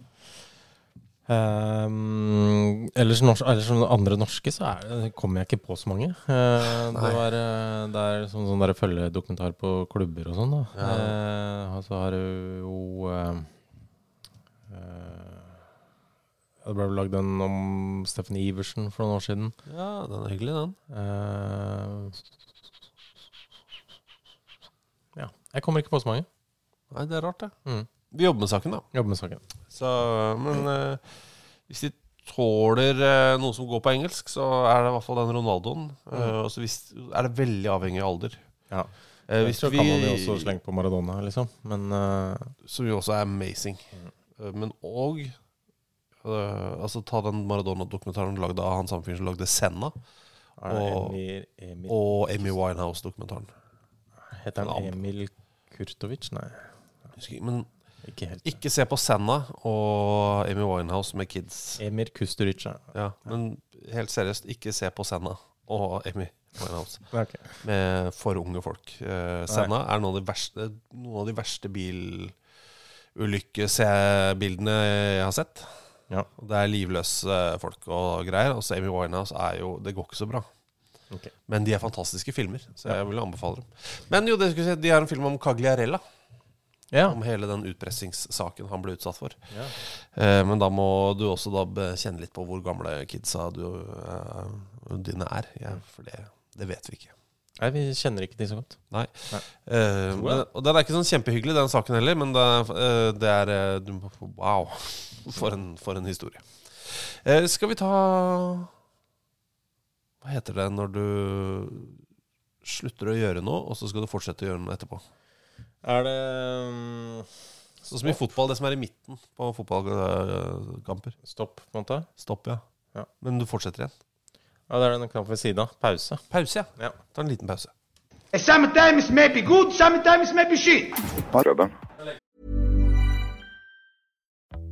Speaker 4: Um, Eh, ellers, norsk, ellers som andre norske, så er det, kommer jeg ikke på så mange. Eh, det,
Speaker 3: Nei.
Speaker 4: var, eh, det er sånn, sånn der følgedokumentar på klubber og sånn. da Eh, Og så har du jo eh, eh, Det ble vel lagd en om Steffen Iversen for noen år siden.
Speaker 3: Ja, den er hyggelig, den.
Speaker 4: Eh, ja. Jeg kommer ikke på så mange.
Speaker 3: Nei, det er rart, det.
Speaker 4: Mm.
Speaker 3: Vi jobber med saken, da.
Speaker 4: Jobber med saken.
Speaker 3: Så, men eh, hvis de tåler eh, noe som går på engelsk, så er det i hvert fall den Ronaldoen. Eh,
Speaker 4: Mm.
Speaker 3: og så hvis- er det veldig avhengig av alder.
Speaker 4: Ja.
Speaker 3: Eh, hvis
Speaker 4: så
Speaker 3: vi,
Speaker 4: kan man jo også slenge på Maradona, liksom. Men eh,
Speaker 3: som jo også er amazing.
Speaker 4: Mm.
Speaker 3: Eh, Men og eh, Altså ta den Maradona-dokumentaren lagd av han samme fyren som lagde Senna,
Speaker 4: er det
Speaker 3: Og-
Speaker 4: Emil, Emil
Speaker 3: og Amy Winehouse-dokumentaren.
Speaker 4: Heter han
Speaker 3: Lamb.
Speaker 4: Emil Kurtovic? Nei,
Speaker 3: Husker ikke, Men
Speaker 4: ikke helt.
Speaker 3: ikke se på Senna og Amy Winehouse med kids.
Speaker 4: Emir Kusturic. Ja.
Speaker 3: Ja, men helt seriøst, ikke se på Senna og Amy Winehouse
Speaker 4: Ok.
Speaker 3: med for unge folk. Eh, Senna er noen av de verste, noen av de verste bilulykkebildene jeg har sett.
Speaker 4: Ja.
Speaker 3: Og Det er livløse folk og greier. Og så Amy Winehouse er jo Det går ikke så bra.
Speaker 4: Ok.
Speaker 3: Men de er fantastiske filmer, så jeg vil anbefale dem. Men jo, det skulle jeg si, de har en film om Cagliarella.
Speaker 4: Ja.
Speaker 3: Om hele den utpressingssaken han ble utsatt for. Eh, men da må du også da be- kjenne litt på hvor gamle kidsa du, eh, dine er. Ja, for det, det vet vi ikke.
Speaker 4: Nei, vi kjenner ikke de så godt.
Speaker 3: Nei. Eh, men, og den er ikke sånn kjempehyggelig, den saken heller, men det er, eh, det er eh, du, må- Wow! For en, for en historie. Eh, skal vi ta Hva heter det når du slutter å gjøre noe, og så skal du fortsette å gjøre noe etterpå?
Speaker 4: Er det mm,
Speaker 3: Sånn som i fotball, det som er i midten på fotballkamper.
Speaker 4: stopp, på en måte?
Speaker 3: Stopp, ja.
Speaker 4: Ja.
Speaker 3: Men du fortsetter igjen.
Speaker 4: Ja, det er den knappen ved siden av. Pause.
Speaker 3: Pause, ja.
Speaker 4: Ja.
Speaker 3: Ta en liten pause.
Speaker 2: Sometimes may be good, sometimes may be shit.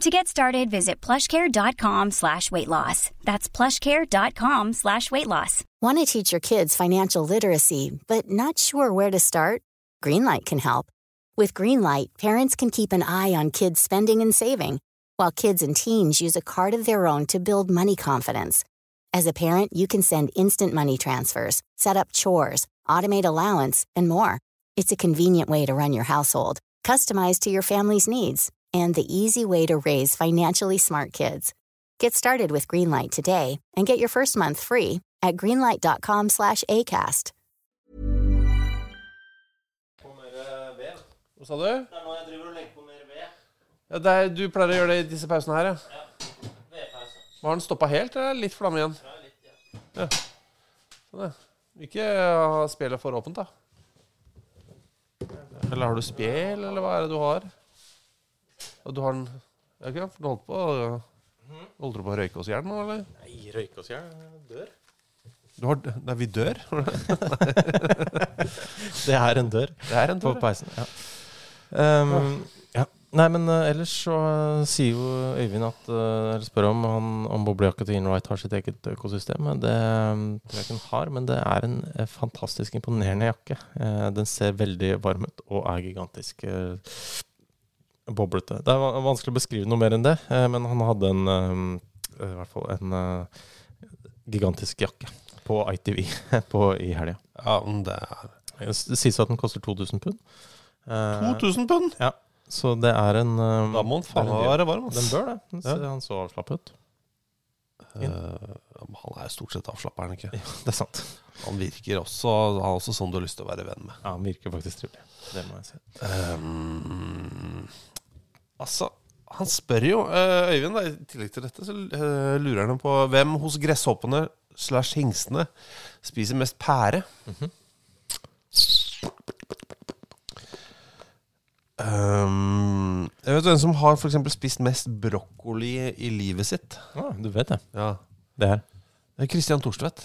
Speaker 5: To get started, visit plushcare.com slash weight loss. That's plushcare.com slash weight loss.
Speaker 6: Want to teach your kids financial literacy, but not sure where to start? Greenlight can help. With Greenlight, parents can keep an eye on kids' spending and saving, while kids and teens use a card of their own to build money confidence. As a parent, you can send instant money transfers, set up chores, automate allowance, and more. It's a convenient way to run your household, customized to your family's needs, and the easy way to raise financially smart kids. Get started with Greenlight today and get your first month free at greenlight.com slash ACAST.
Speaker 3: Hva sa du? eh, Det er nå jeg driver og legger på mer ved. Ja, det er, du pleier å gjøre det i disse pausene her, ja? Ja. Har den stoppa helt, eller er det litt flamme igjen? Ja, litt, ja. Sånn, ja. Ikke ha spjelet for åpent, da. Eller har du spjel, eller hva er det du har? Og du har den Ja, ikke sant? For du holdt på å- Holder du på å røyke oss i hjel nå, eller?
Speaker 4: Nei, røyke oss i hjel. Dør.
Speaker 3: Du har, nei, vi dør.
Speaker 4: Det er en dør.
Speaker 3: Det er en
Speaker 4: På
Speaker 3: dør. ja.
Speaker 4: peisen, ja. Ehm, ja. Nei, men eh, ellers så eh, sier jo Øyvind at eh, Eller spør om han om boblejakka til Ian Wright har sitt eget økosystem. Det eh, tror jeg ikke den har, men det er en eh, fantastisk imponerende jakke. Eh, Den ser veldig varm ut og er gigantisk eh, boblete. Det er va- vanskelig å beskrive noe mer enn det, eh, men han hadde en eh, I hvert fall en eh, gigantisk jakke på ITV på, i helga.
Speaker 3: Ja, men det er
Speaker 4: Det sies at den koster 2000 pund. Eh,
Speaker 3: 2000 pund!
Speaker 4: Ja, så det er en eh,
Speaker 3: Da må den faen
Speaker 4: det er en
Speaker 3: meg
Speaker 4: dyr-
Speaker 3: være varm, ass.
Speaker 4: Den bør det. Den ser-
Speaker 3: Ja.
Speaker 4: Han så avslappet ut.
Speaker 3: Eh, han er jo stort sett avslappa, er han ikke?
Speaker 4: Det er sant.
Speaker 3: Han virker også, han er også sånn du har lyst til å være venn med.
Speaker 4: Ja, Han virker faktisk trivelig. Det må jeg si.
Speaker 3: Ehm, altså, han spør jo eh, Øyvind, da, i tillegg til dette, så eh, lurer han på hvem hos gresshoppene slash hingstene spiser mest pære? Ehm, jeg vet hvem som har for eksempel spist mest brokkoli i livet sitt.
Speaker 4: Ja, du vet det.
Speaker 3: Ja.
Speaker 4: Det her.
Speaker 3: Det er Christian Thorstvedt.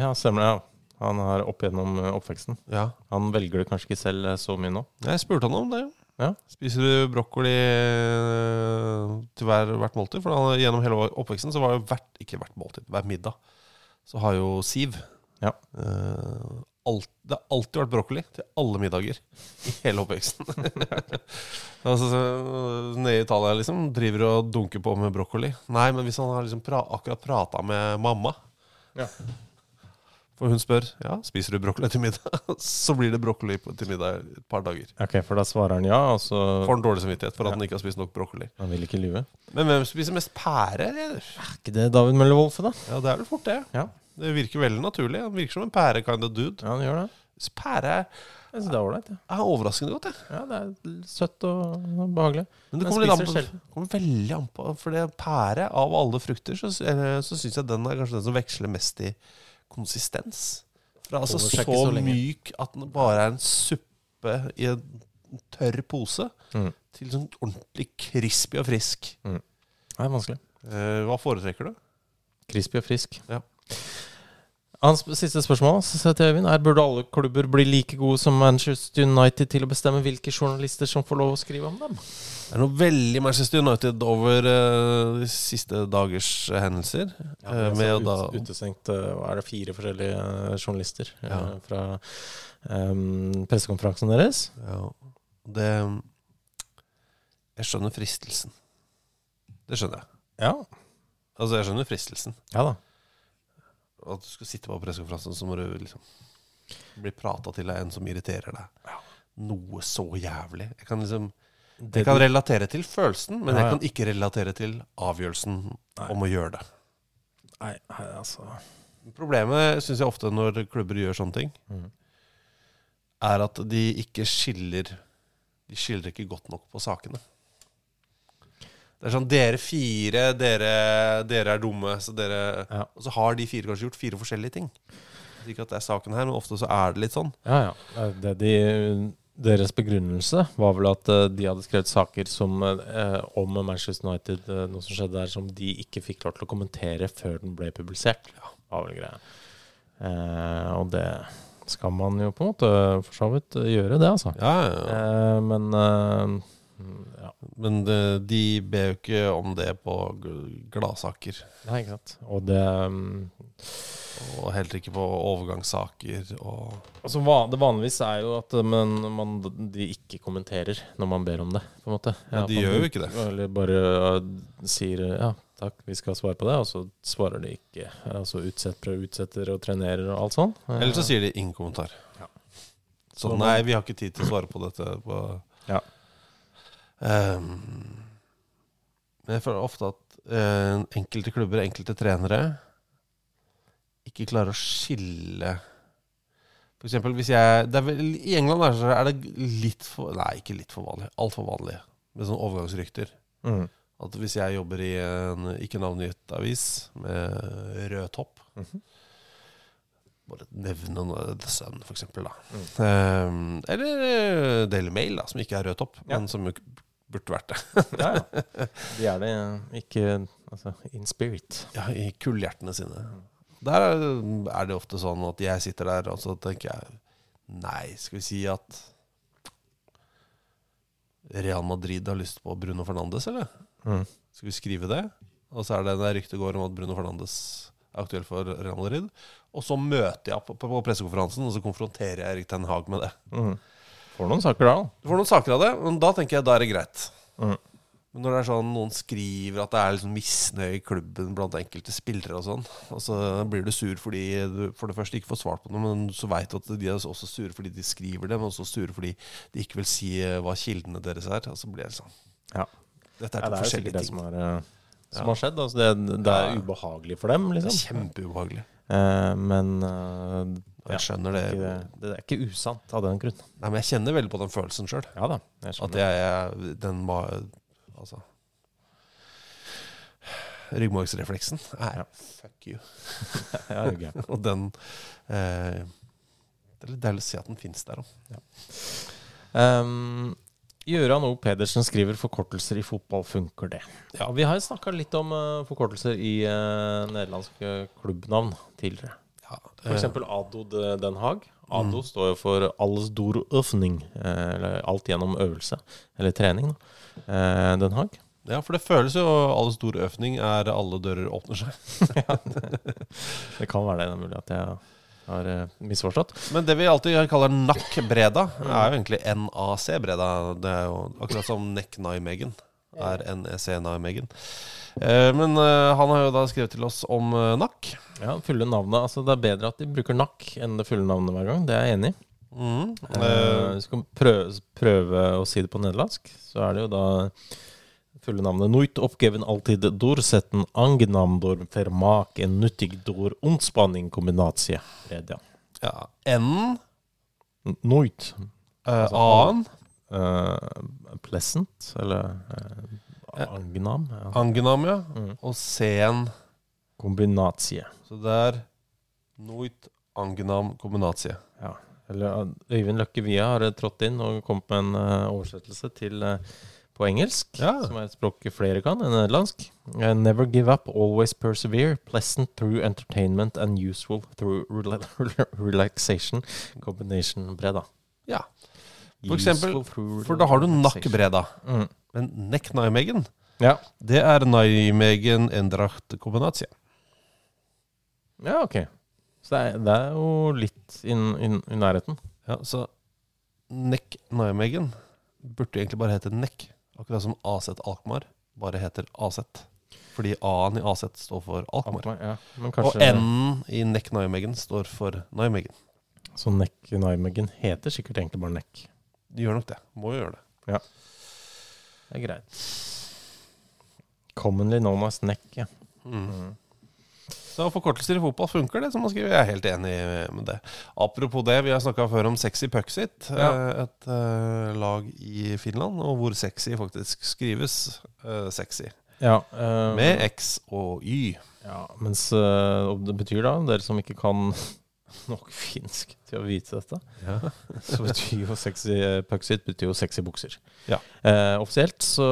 Speaker 4: Ja, stemmer det. Ja. Han har opp gjennom eh, oppveksten.
Speaker 3: Ja.
Speaker 4: Han velger det kanskje ikke selv eh, så mye nå.
Speaker 3: Jeg spurte han om det. jo.
Speaker 4: Ja.
Speaker 3: Spiser du brokkoli eh, til hver, hvert måltid? For han, gjennom hele oppveksten så var jo hvert, ikke hvert måltid, hver middag, så har jo Siv
Speaker 4: Ja.
Speaker 3: eh, alt, det har alltid vært brokkoli til alle middager i hele oppveksten. altså, så, nede i Italia liksom, driver og dunker på med brokkoli. Nei, men hvis han har liksom pra akkurat prata med mamma
Speaker 4: Ja.
Speaker 3: For hun spør ja, spiser du brokkoli til middag, så blir det brokkoli på- til middag et par dager.
Speaker 4: Ok, For da svarer han ja, og så
Speaker 3: Får han dårlig samvittighet for at han ikke har spist nok brokkoli.
Speaker 4: Han vil ikke lue.
Speaker 3: Men hvem spiser mest pære? eller?
Speaker 4: Er ikke det David Møller-Wolfe, da?
Speaker 3: Ja, det er vel fort det.
Speaker 4: Ja.
Speaker 3: Det virker veldig naturlig. Han virker som en pære kind of dude.
Speaker 4: ja, han gjør det.
Speaker 3: Så Pære er-
Speaker 4: Jeg synes det er ålreit. Ja.
Speaker 3: er overraskende godt, jeg.
Speaker 4: ja, det er søtt og behagelig.
Speaker 3: Men det
Speaker 4: Men
Speaker 3: kommer, litt an på,
Speaker 4: spiser sjelden.
Speaker 3: kommer veldig an på For det er pære av alle frukter, så, eller, så syns jeg den er kanskje den som veksler mest i konsistens. For det er altså
Speaker 4: Holder
Speaker 3: så,
Speaker 4: seg ikke så lenge.
Speaker 3: myk at den bare er en suppe i en tørr pose,
Speaker 4: Mm.
Speaker 3: til sånn ordentlig crispy og frisk.
Speaker 4: Det er vanskelig.
Speaker 3: Eh, hva foretrekker du?
Speaker 4: Crispy og frisk.
Speaker 3: Ja.
Speaker 4: Hans siste spørsmål så sier jeg til Øyvind, er burde alle klubber bli like gode som Manchester United til å bestemme hvilke journalister som får lov å skrive om dem?
Speaker 3: Det er noe veldig Manchester United over eh, de siste dagers eh, hendelser. Eh, med å da,
Speaker 4: altså, ut, utestengt eh, hva er det, fire forskjellige eh, journalister eh,
Speaker 3: Ja.
Speaker 4: fra eh, pressekonferansen deres.
Speaker 3: ja, det Jeg skjønner fristelsen. Det skjønner jeg.
Speaker 4: Ja.
Speaker 3: Altså, jeg skjønner fristelsen.
Speaker 4: ja da.
Speaker 3: At du skal sitte på pressekonferansen, så må du liksom bli prata til av en som irriterer deg. Noe så jævlig. Jeg kan liksom
Speaker 4: Det
Speaker 3: Jeg kan
Speaker 4: du-
Speaker 3: relatere til følelsen, men
Speaker 4: Ja,
Speaker 3: jeg
Speaker 4: ja.
Speaker 3: kan ikke relatere til avgjørelsen om å gjøre det.
Speaker 4: Nei, nei, altså
Speaker 3: Problemet syns jeg ofte når klubber gjør sånne ting, er at de ikke skiller De skiller ikke godt nok på sakene. Det er sånn Dere fire, dere, dere er dumme, så dere
Speaker 4: Ja.
Speaker 3: Og så har de fire kanskje gjort fire forskjellige ting. Så Ikke at det er saken her, men ofte så er det litt sånn.
Speaker 4: Ja, ja. Eh, Det, de, deres begrunnelse var vel at eh, de hadde skrevet saker som, eh, om Manchester United, eh, noe som skjedde der, som de ikke fikk lov til å kommentere før den ble publisert. Var vel greia. Eh, og det skal man jo på en måte for så vidt eh, gjøre, det, altså. Eh, men eh, mm, ja.
Speaker 3: Men de, de ber jo ikke om det på gl- gladsaker.
Speaker 4: Nei, ikke sant. Og det mm,
Speaker 3: Og heller ikke på overgangssaker og
Speaker 4: Altså, va- det vanligvis er jo at eh, men, man, de ikke kommenterer når man ber om det, på en måte.
Speaker 3: Men de
Speaker 4: at man
Speaker 3: gjør jo
Speaker 4: bur-
Speaker 3: ikke det.
Speaker 4: Eller bare eh, sier eh, ja, takk, vi skal svare på det, og så svarer de ikke. Eh, Og så utsetter og utsetter og trenerer og alt sånn. Eh,
Speaker 3: Eller så sier de ingen kommentar. Så
Speaker 4: Så
Speaker 3: nei,
Speaker 4: man-
Speaker 3: vi har ikke tid til å svare på dette. På,
Speaker 4: Ja.
Speaker 3: Ehm, men jeg føler ofte at eh, enkelte klubber, enkelte trenere, ikke klarer å skille For eksempel hvis jeg det er vel, I England er det- er det litt for Nei, ikke litt for vanlig. Altfor vanlig med sånne overgangsrykter.
Speaker 4: Mm.
Speaker 3: At hvis jeg jobber i en ikke navngitt avis med rød topp
Speaker 4: Mhm.
Speaker 3: Bare nevne noe, The Sun, for eksempel. Da.
Speaker 4: Mm.
Speaker 3: Ehm, eller eh, Daily Mail, da, som ikke er rød topp,
Speaker 4: Ja.
Speaker 3: men som jo k- burde vært det.
Speaker 4: Ja, ja. De er det eh, ikke altså, in spirit.
Speaker 3: Ja, I kullhjertene sine. Der er er det ofte sånn at jeg sitter der, og så tenker jeg Nei, skal vi si at Real Madrid har lyst på Bruno Fernandes, eller?
Speaker 4: Mm.
Speaker 3: Skal vi skrive det? Og så er det der ryktet går om at Bruno Fernandes er aktuell for Real Madrid. Og så møter jeg på, på, på pressekonferansen, og så konfronterer jeg Erik Ten Hag med det.
Speaker 4: Mm. Får noen saker da.
Speaker 3: Du får noen saker av det, men da tenker jeg da er det greit.
Speaker 4: Mm.
Speaker 3: Men når det er sånn noen skriver at det er liksom misnøye i klubben blant enkelte spillere og sånn, og så blir du sur fordi du for det første ikke får svart på noe, men så veit du at de er også sure fordi de skriver det, men også sure fordi de ikke vil si eh, hva kildene deres er, og så blir det sånn.
Speaker 4: Ja.
Speaker 3: Dette er
Speaker 4: Ja,
Speaker 3: to
Speaker 4: det er jo
Speaker 3: forskjellige
Speaker 4: sikkert det
Speaker 3: ting.
Speaker 4: som, er, eh, som
Speaker 3: Ja.
Speaker 4: har skjedd. Altså, det, det
Speaker 3: Ja.
Speaker 4: er ubehagelig for
Speaker 3: Det
Speaker 4: dem,
Speaker 3: er
Speaker 4: liksom.
Speaker 3: kjempeubehagelig.
Speaker 4: Eh, men eh,
Speaker 3: Og jeg skjønner det.
Speaker 4: ikke, det er ikke usant av den grunn.
Speaker 3: Nei, men jeg kjenner veldig på den følelsen sjøl.
Speaker 4: Ja da. Jeg
Speaker 3: At
Speaker 4: skjønner.
Speaker 3: jeg er den ma... Altså Ryggmargsrefleksen er
Speaker 4: Ja.
Speaker 3: fuck you.
Speaker 4: Ja, det er gøy.
Speaker 3: Og den eh, Det er litt deilig å se at den fins der òg.
Speaker 4: Ehm, Gøran O. Pedersen skriver 'Forkortelser i fotball, funker det?' Ja, Vi har jo snakka litt om eh, forkortelser i eh, nederlandske klubbnavn tidligere.
Speaker 3: Ja,
Speaker 4: For eksempel Ado de Den Haag. Ado står jo for alles door øvning, eh, eller alt gjennom øvelse, eller trening. Da. Eh, Den Haag.
Speaker 3: ja, for det føles jo alle store økning er alle dører åpner seg.
Speaker 4: Det kan være det, det er mulig at jeg har eh, misforstått.
Speaker 3: Men det vi alltid kaller NAC-Breda, er jo egentlig NAC-Breda. Det er jo akkurat som Neck Nijmegen er NEC Nijmegen. Eh, Men eh, han har jo da skrevet til oss om eh, NAC.
Speaker 4: Ja, fulle navnet. Altså, det er bedre at de bruker NAC enn det fulle navnet hver gang. Det er jeg enig i.
Speaker 3: Mm.
Speaker 4: Eh, Hvis du kan prøve, prøve å si det på nederlandsk, så er det jo da fulle navnet Noit oppgaven alltid dorsetten angenamdor vermak en nuttig dor ondspanning kombinatie. Breda.
Speaker 3: Ja. N,
Speaker 4: Noit.
Speaker 3: eh,
Speaker 4: Altså,
Speaker 3: A-en,
Speaker 4: Eh, pleasant, eller eh, angenam. Ja.
Speaker 3: Angenam, ja,
Speaker 4: Mm.
Speaker 3: og C-en.
Speaker 4: Kombinatie.
Speaker 3: Så det er Noit Angenam Kombinatie.
Speaker 4: Ja. Eller uh, Øyvind Løkke Via har uh, trådt inn og kommet med en uh, oversettelse til uh, på engelsk,
Speaker 3: Ja.
Speaker 4: som er et språk flere kan enn nederlandsk. Uh, Never give up, always persevere, pleasant through entertainment and useful through rela relaxation. Combination breda.
Speaker 3: Ja. For eksempel,
Speaker 4: Useful through
Speaker 3: for da har du
Speaker 4: relaxation.
Speaker 3: NAC-Breda.
Speaker 4: Mm.
Speaker 3: Men Neck Nijmegen,
Speaker 4: Ja.
Speaker 3: det er Nijmegen Endracht Kombinatie.
Speaker 4: ja, ok. Så det er, det er jo litt inn- inn- i nærheten.
Speaker 3: Ja, så Neck Nijmegen burde egentlig bare hete Neck. Akkurat som AZ Alkmaar bare heter AZ. Fordi A-en i AZ står for Alkmaar.
Speaker 4: Ja. Men
Speaker 3: Og
Speaker 4: kanskje,
Speaker 3: N-en i Neck Nijmegen står for Nijmegen.
Speaker 4: Så Neck Nijmegen sånn heter sikkert egentlig bare Neck.
Speaker 3: De gjør nok det. Må jo gjøre det.
Speaker 4: Det er greit. Commonly known as neck, ja. Mm.
Speaker 3: Så forkortelser i fotball funker, det, som man skriver. Jeg er helt enig med det. Apropos det, vi har snakka før om Sexy Pucksit,
Speaker 4: Ja.
Speaker 3: et eh, lag i Finland, og hvor sexy faktisk skrives eh, sexy.
Speaker 4: Ja, eh,
Speaker 3: Med X og Y.
Speaker 4: ja, mens eh, og det betyr da, dere som ikke kan nok finsk til å vite dette, så betyr jo sexy eh, pucksit betyr jo sexy bukser.
Speaker 3: Ja.
Speaker 4: Eh, offisielt så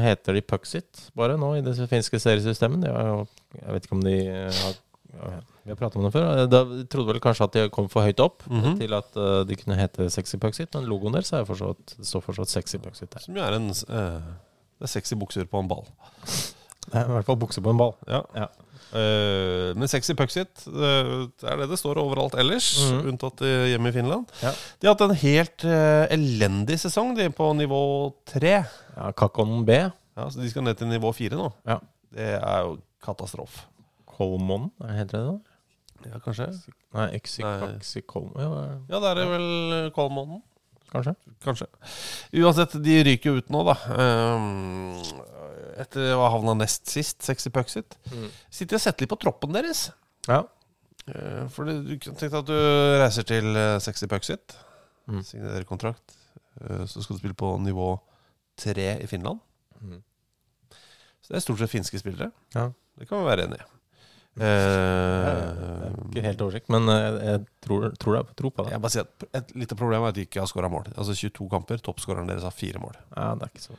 Speaker 4: heter de pucksit bare nå i det finske seriesystemet. Det er jo- jeg vet ikke om de eh, har ja, Vi har pratet om det før. Eh, Da de trodde vel kanskje at de kom for høyt opp
Speaker 3: Mhm.
Speaker 4: til at eh, de kunne hete sexy pucksit, men logoen deres er jo fortsatt, det står fortsatt sexy pucksit der.
Speaker 3: Som jo er en eh, Det er sexy bukser på en ball.
Speaker 4: Det er i hvert fall bukse på en ball.
Speaker 3: Ja.
Speaker 4: Ja.
Speaker 3: Eh, men sexy pucksit uh, er det det står overalt ellers,
Speaker 4: Mhm.
Speaker 3: unntatt eh, hjemme i Finland.
Speaker 4: Ja.
Speaker 3: De har hatt en helt eh, elendig sesong, de, på nivå tre.
Speaker 4: Ja, Kakon B.
Speaker 3: Ja, så de skal ned til nivå fire nå.
Speaker 4: Ja.
Speaker 3: Det er jo katastrofe.
Speaker 4: Kolmon, er det heter det da?
Speaker 3: Ja, kanskje.
Speaker 4: Nei,
Speaker 3: Nei.
Speaker 4: Øksikolmon ja, hva-
Speaker 3: Ja, det er det vel eh, Kolmånen.
Speaker 4: Kanskje.
Speaker 3: Kanskje. Uansett, de ryker jo ut nå, da. Um, etter å ha havna nest sist, sexy pucksit.
Speaker 4: Mm.
Speaker 3: Sitter og setter litt på troppen deres.
Speaker 4: Ja.
Speaker 3: Eh, For det- du kunne tenkt at du reiser til eh, Sexy Pucksit,
Speaker 4: Mm.
Speaker 3: signerer kontrakt, eh, så skal du spille på nivå tre i Finland.
Speaker 4: Mm.
Speaker 3: Så det er stort sett finske spillere.
Speaker 4: Ja.
Speaker 3: Det kan vi være enig i.
Speaker 4: Jeg har ikke
Speaker 3: Eh,
Speaker 4: helt oversikt, men eh, jeg, jeg tror, tror jeg tror på det.
Speaker 3: jeg bare sier at Et lite problem er at de ikke har skåra mål. Altså 22 kamper, toppskåreren deres har fire mål.
Speaker 4: Ja, det er ikke så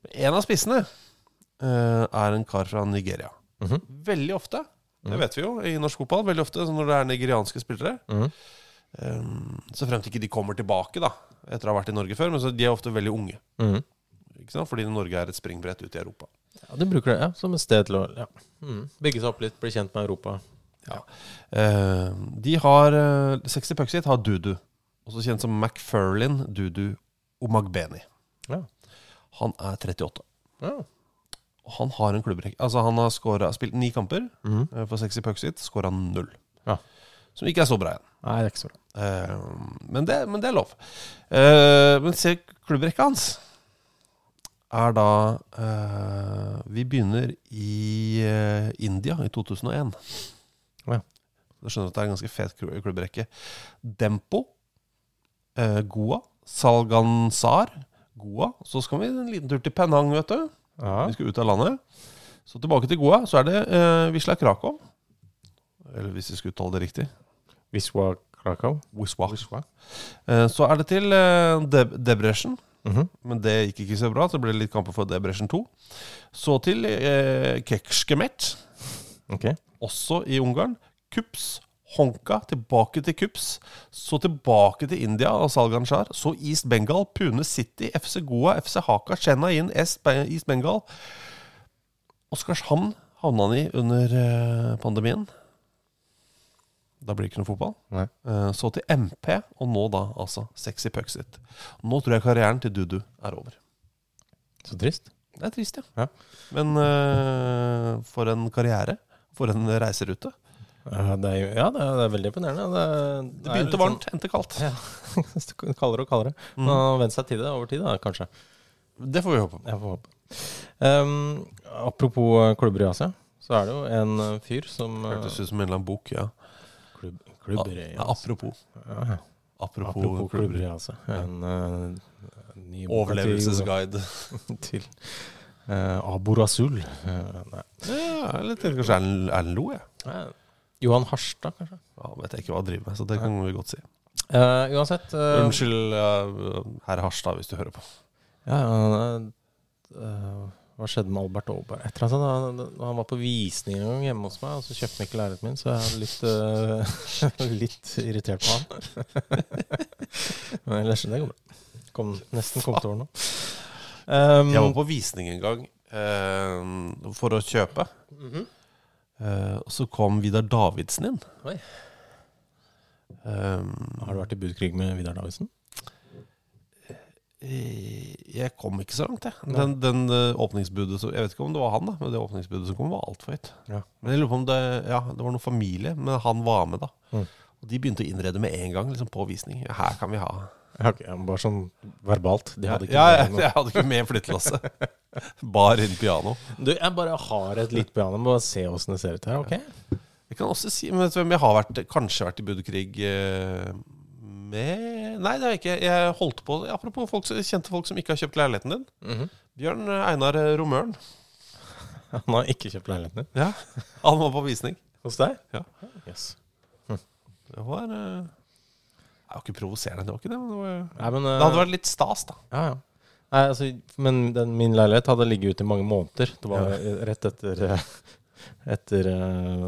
Speaker 3: Men En av spissene eh, er en kar fra Nigeria.
Speaker 4: Mhm.
Speaker 3: Veldig ofte, det
Speaker 4: Mm.
Speaker 3: vet vi jo i norsk fotball, veldig ofte så når det er nigerianske spillere,
Speaker 4: Mhm.
Speaker 3: Um, så fremt ikke de kommer tilbake da etter å ha vært i Norge før. Men så de er ofte veldig unge,
Speaker 4: Mhm.
Speaker 3: ikke sant? fordi Norge er et springbrett ut i Europa.
Speaker 4: Ja, Du bruker det ja, som et sted til å ja. Mhm. bygge seg opp litt, bli kjent med Europa.
Speaker 3: Eh, de har eh, Sexy Pucksit har Dudu, også kjent som McFarlane Dudu Omagbeni.
Speaker 4: Ja.
Speaker 3: Han er 38.
Speaker 4: Ja.
Speaker 3: Og han har en klubbrekk. Altså Han har scoret, spilt ni kamper
Speaker 4: Mhm.
Speaker 3: eh, for Sexy Pucksit, scora null.
Speaker 4: Ja.
Speaker 3: Som ikke er så bra igjen.
Speaker 4: Nei, det er ikke så bra.
Speaker 3: Eh, men, det, men det er lov. Eh, men se klubbrekka hans er da eh, Vi begynner i eh, India i 2001.
Speaker 4: Ja.
Speaker 3: Du skjønner at det er en ganske fet klu- klubbrekke. Dempo, eh, Goa, Salgansar, Goa. Så skal vi en liten tur til Penang, vet du. Vi skal ut av landet. Så tilbake til Goa. Så er det eh, Wisla Krakow. Eller hvis vi skal uttale det riktig.
Speaker 4: Wisła Krakow.
Speaker 3: Wisła. Eh, Så er det til eh, Deb Debrecen,
Speaker 4: Mhm.
Speaker 3: men det gikk ikke så bra. Så ble det litt kamper for Debrecen 2. Så til eh, Kekskemet,
Speaker 4: Ok.
Speaker 3: også i Ungarn. Kups, Honka, tilbake til Kups. Så tilbake til India og Salganshar. Så East Bengal, Pune City, FC Goa, FC Haka, Chennai, East Be- East Bengal. Oskarshamn havna han i under eh, pandemien. Da blir det ikke noe fotball.
Speaker 4: Nei.
Speaker 3: Eh, Så til MP, og nå da altså Sexy Puxit. Nå tror jeg karrieren til Dudu er over.
Speaker 4: Så trist.
Speaker 3: Det er trist, ja.
Speaker 4: Ja.
Speaker 3: Men eh, for en karriere. For en reiserute.
Speaker 4: Ja, det er, jo- ja, det er, det er veldig imponerende. Det, sånn- Mm.
Speaker 3: Det begynte varmt, endte kaldt.
Speaker 4: Ja. kaldere og kaldere.
Speaker 3: Mm.
Speaker 4: Men han har vent seg til det over tid, da, kanskje.
Speaker 3: Det får vi håpe.
Speaker 4: Jeg får håpe. Ehm, apropos eh, klubber i Asia, så er det jo en eh, fyr som
Speaker 3: Hørtes ut som en eller annen bok, ja.
Speaker 4: klubb, klubber i
Speaker 3: Ja, Apropos.
Speaker 4: Ja.
Speaker 3: Apropos,
Speaker 4: Apropos klubber i
Speaker 3: klubber.
Speaker 4: Asia. En eh, ny
Speaker 3: Overlevelsesguide.
Speaker 4: til uh, Abor Azul. Eh, nei.
Speaker 3: Ja, eller til kanskje Erlend Erlend Lo, jeg.
Speaker 4: Eh, Johan Harstad, kanskje.
Speaker 3: Ja, vet jeg ikke hva jeg driver med, så det kan vi godt si.
Speaker 4: Eh, uansett eh,
Speaker 3: Unnskyld, eh, herr Harstad, hvis du hører på.
Speaker 4: Ja, han, eh, eh, hva skjedde med Albert Aaberg? Et eller annet sånt. Han, han var på visning en gang hjemme hos meg, og så kjøpte han ikke leiligheten min, så jeg er litt, eh, litt irritert på han. Men ellers, det går bra. Kom, nesten kom til over nå. Um,
Speaker 3: Jeg var på visning en gang eh, for å kjøpe.
Speaker 4: Um, mhm.
Speaker 3: Eh, og så kom Vidar Davidsen inn.
Speaker 4: Oi.
Speaker 3: Eh,
Speaker 4: har du vært i budkrig med Vidar Davidsen?
Speaker 3: eh, jeg kom ikke så langt, jeg. Den, den eh, åpningsbudet som Jeg vet ikke om det var han, da, men det åpningsbudet som kom, var altfor høyt.
Speaker 4: Ja.
Speaker 3: Men jeg lurer på om det Ja, det var noen familie, men han var med, da. Og de begynte å innrede med en gang, liksom på visning. Her kan vi ha
Speaker 4: ok, ja, men bare sånn verbalt. De hadde ikke
Speaker 3: ja, ja,
Speaker 4: noe-
Speaker 3: jeg hadde ikke med flyttelasse. Bar inn piano.
Speaker 4: Du, jeg bare har et litt piano. Bare se åssen det ser ut her, ok?
Speaker 3: Jeg kan også si men vet du hvem jeg har vært, kanskje vært i budkrig eh, med Nei, det har jeg ikke. Jeg holdt på Apropos folk, kjente folk som ikke har kjøpt leiligheten din. Bjørn eh, Einar Romøren.
Speaker 4: Han har ikke kjøpt leiligheten din.
Speaker 3: Ja, Han var på visning.
Speaker 4: Hos deg?
Speaker 3: Ja.
Speaker 4: Yes.
Speaker 3: Det var eh, Det var ikke provoserende, det var ikke det. Men eh, det, var,
Speaker 4: Nei, men,
Speaker 3: det hadde vært litt stas, da.
Speaker 4: Ja, ja. Nei, altså, men den, min leilighet hadde ligget ute i mange måneder. Det var rett etter eh, etter eh,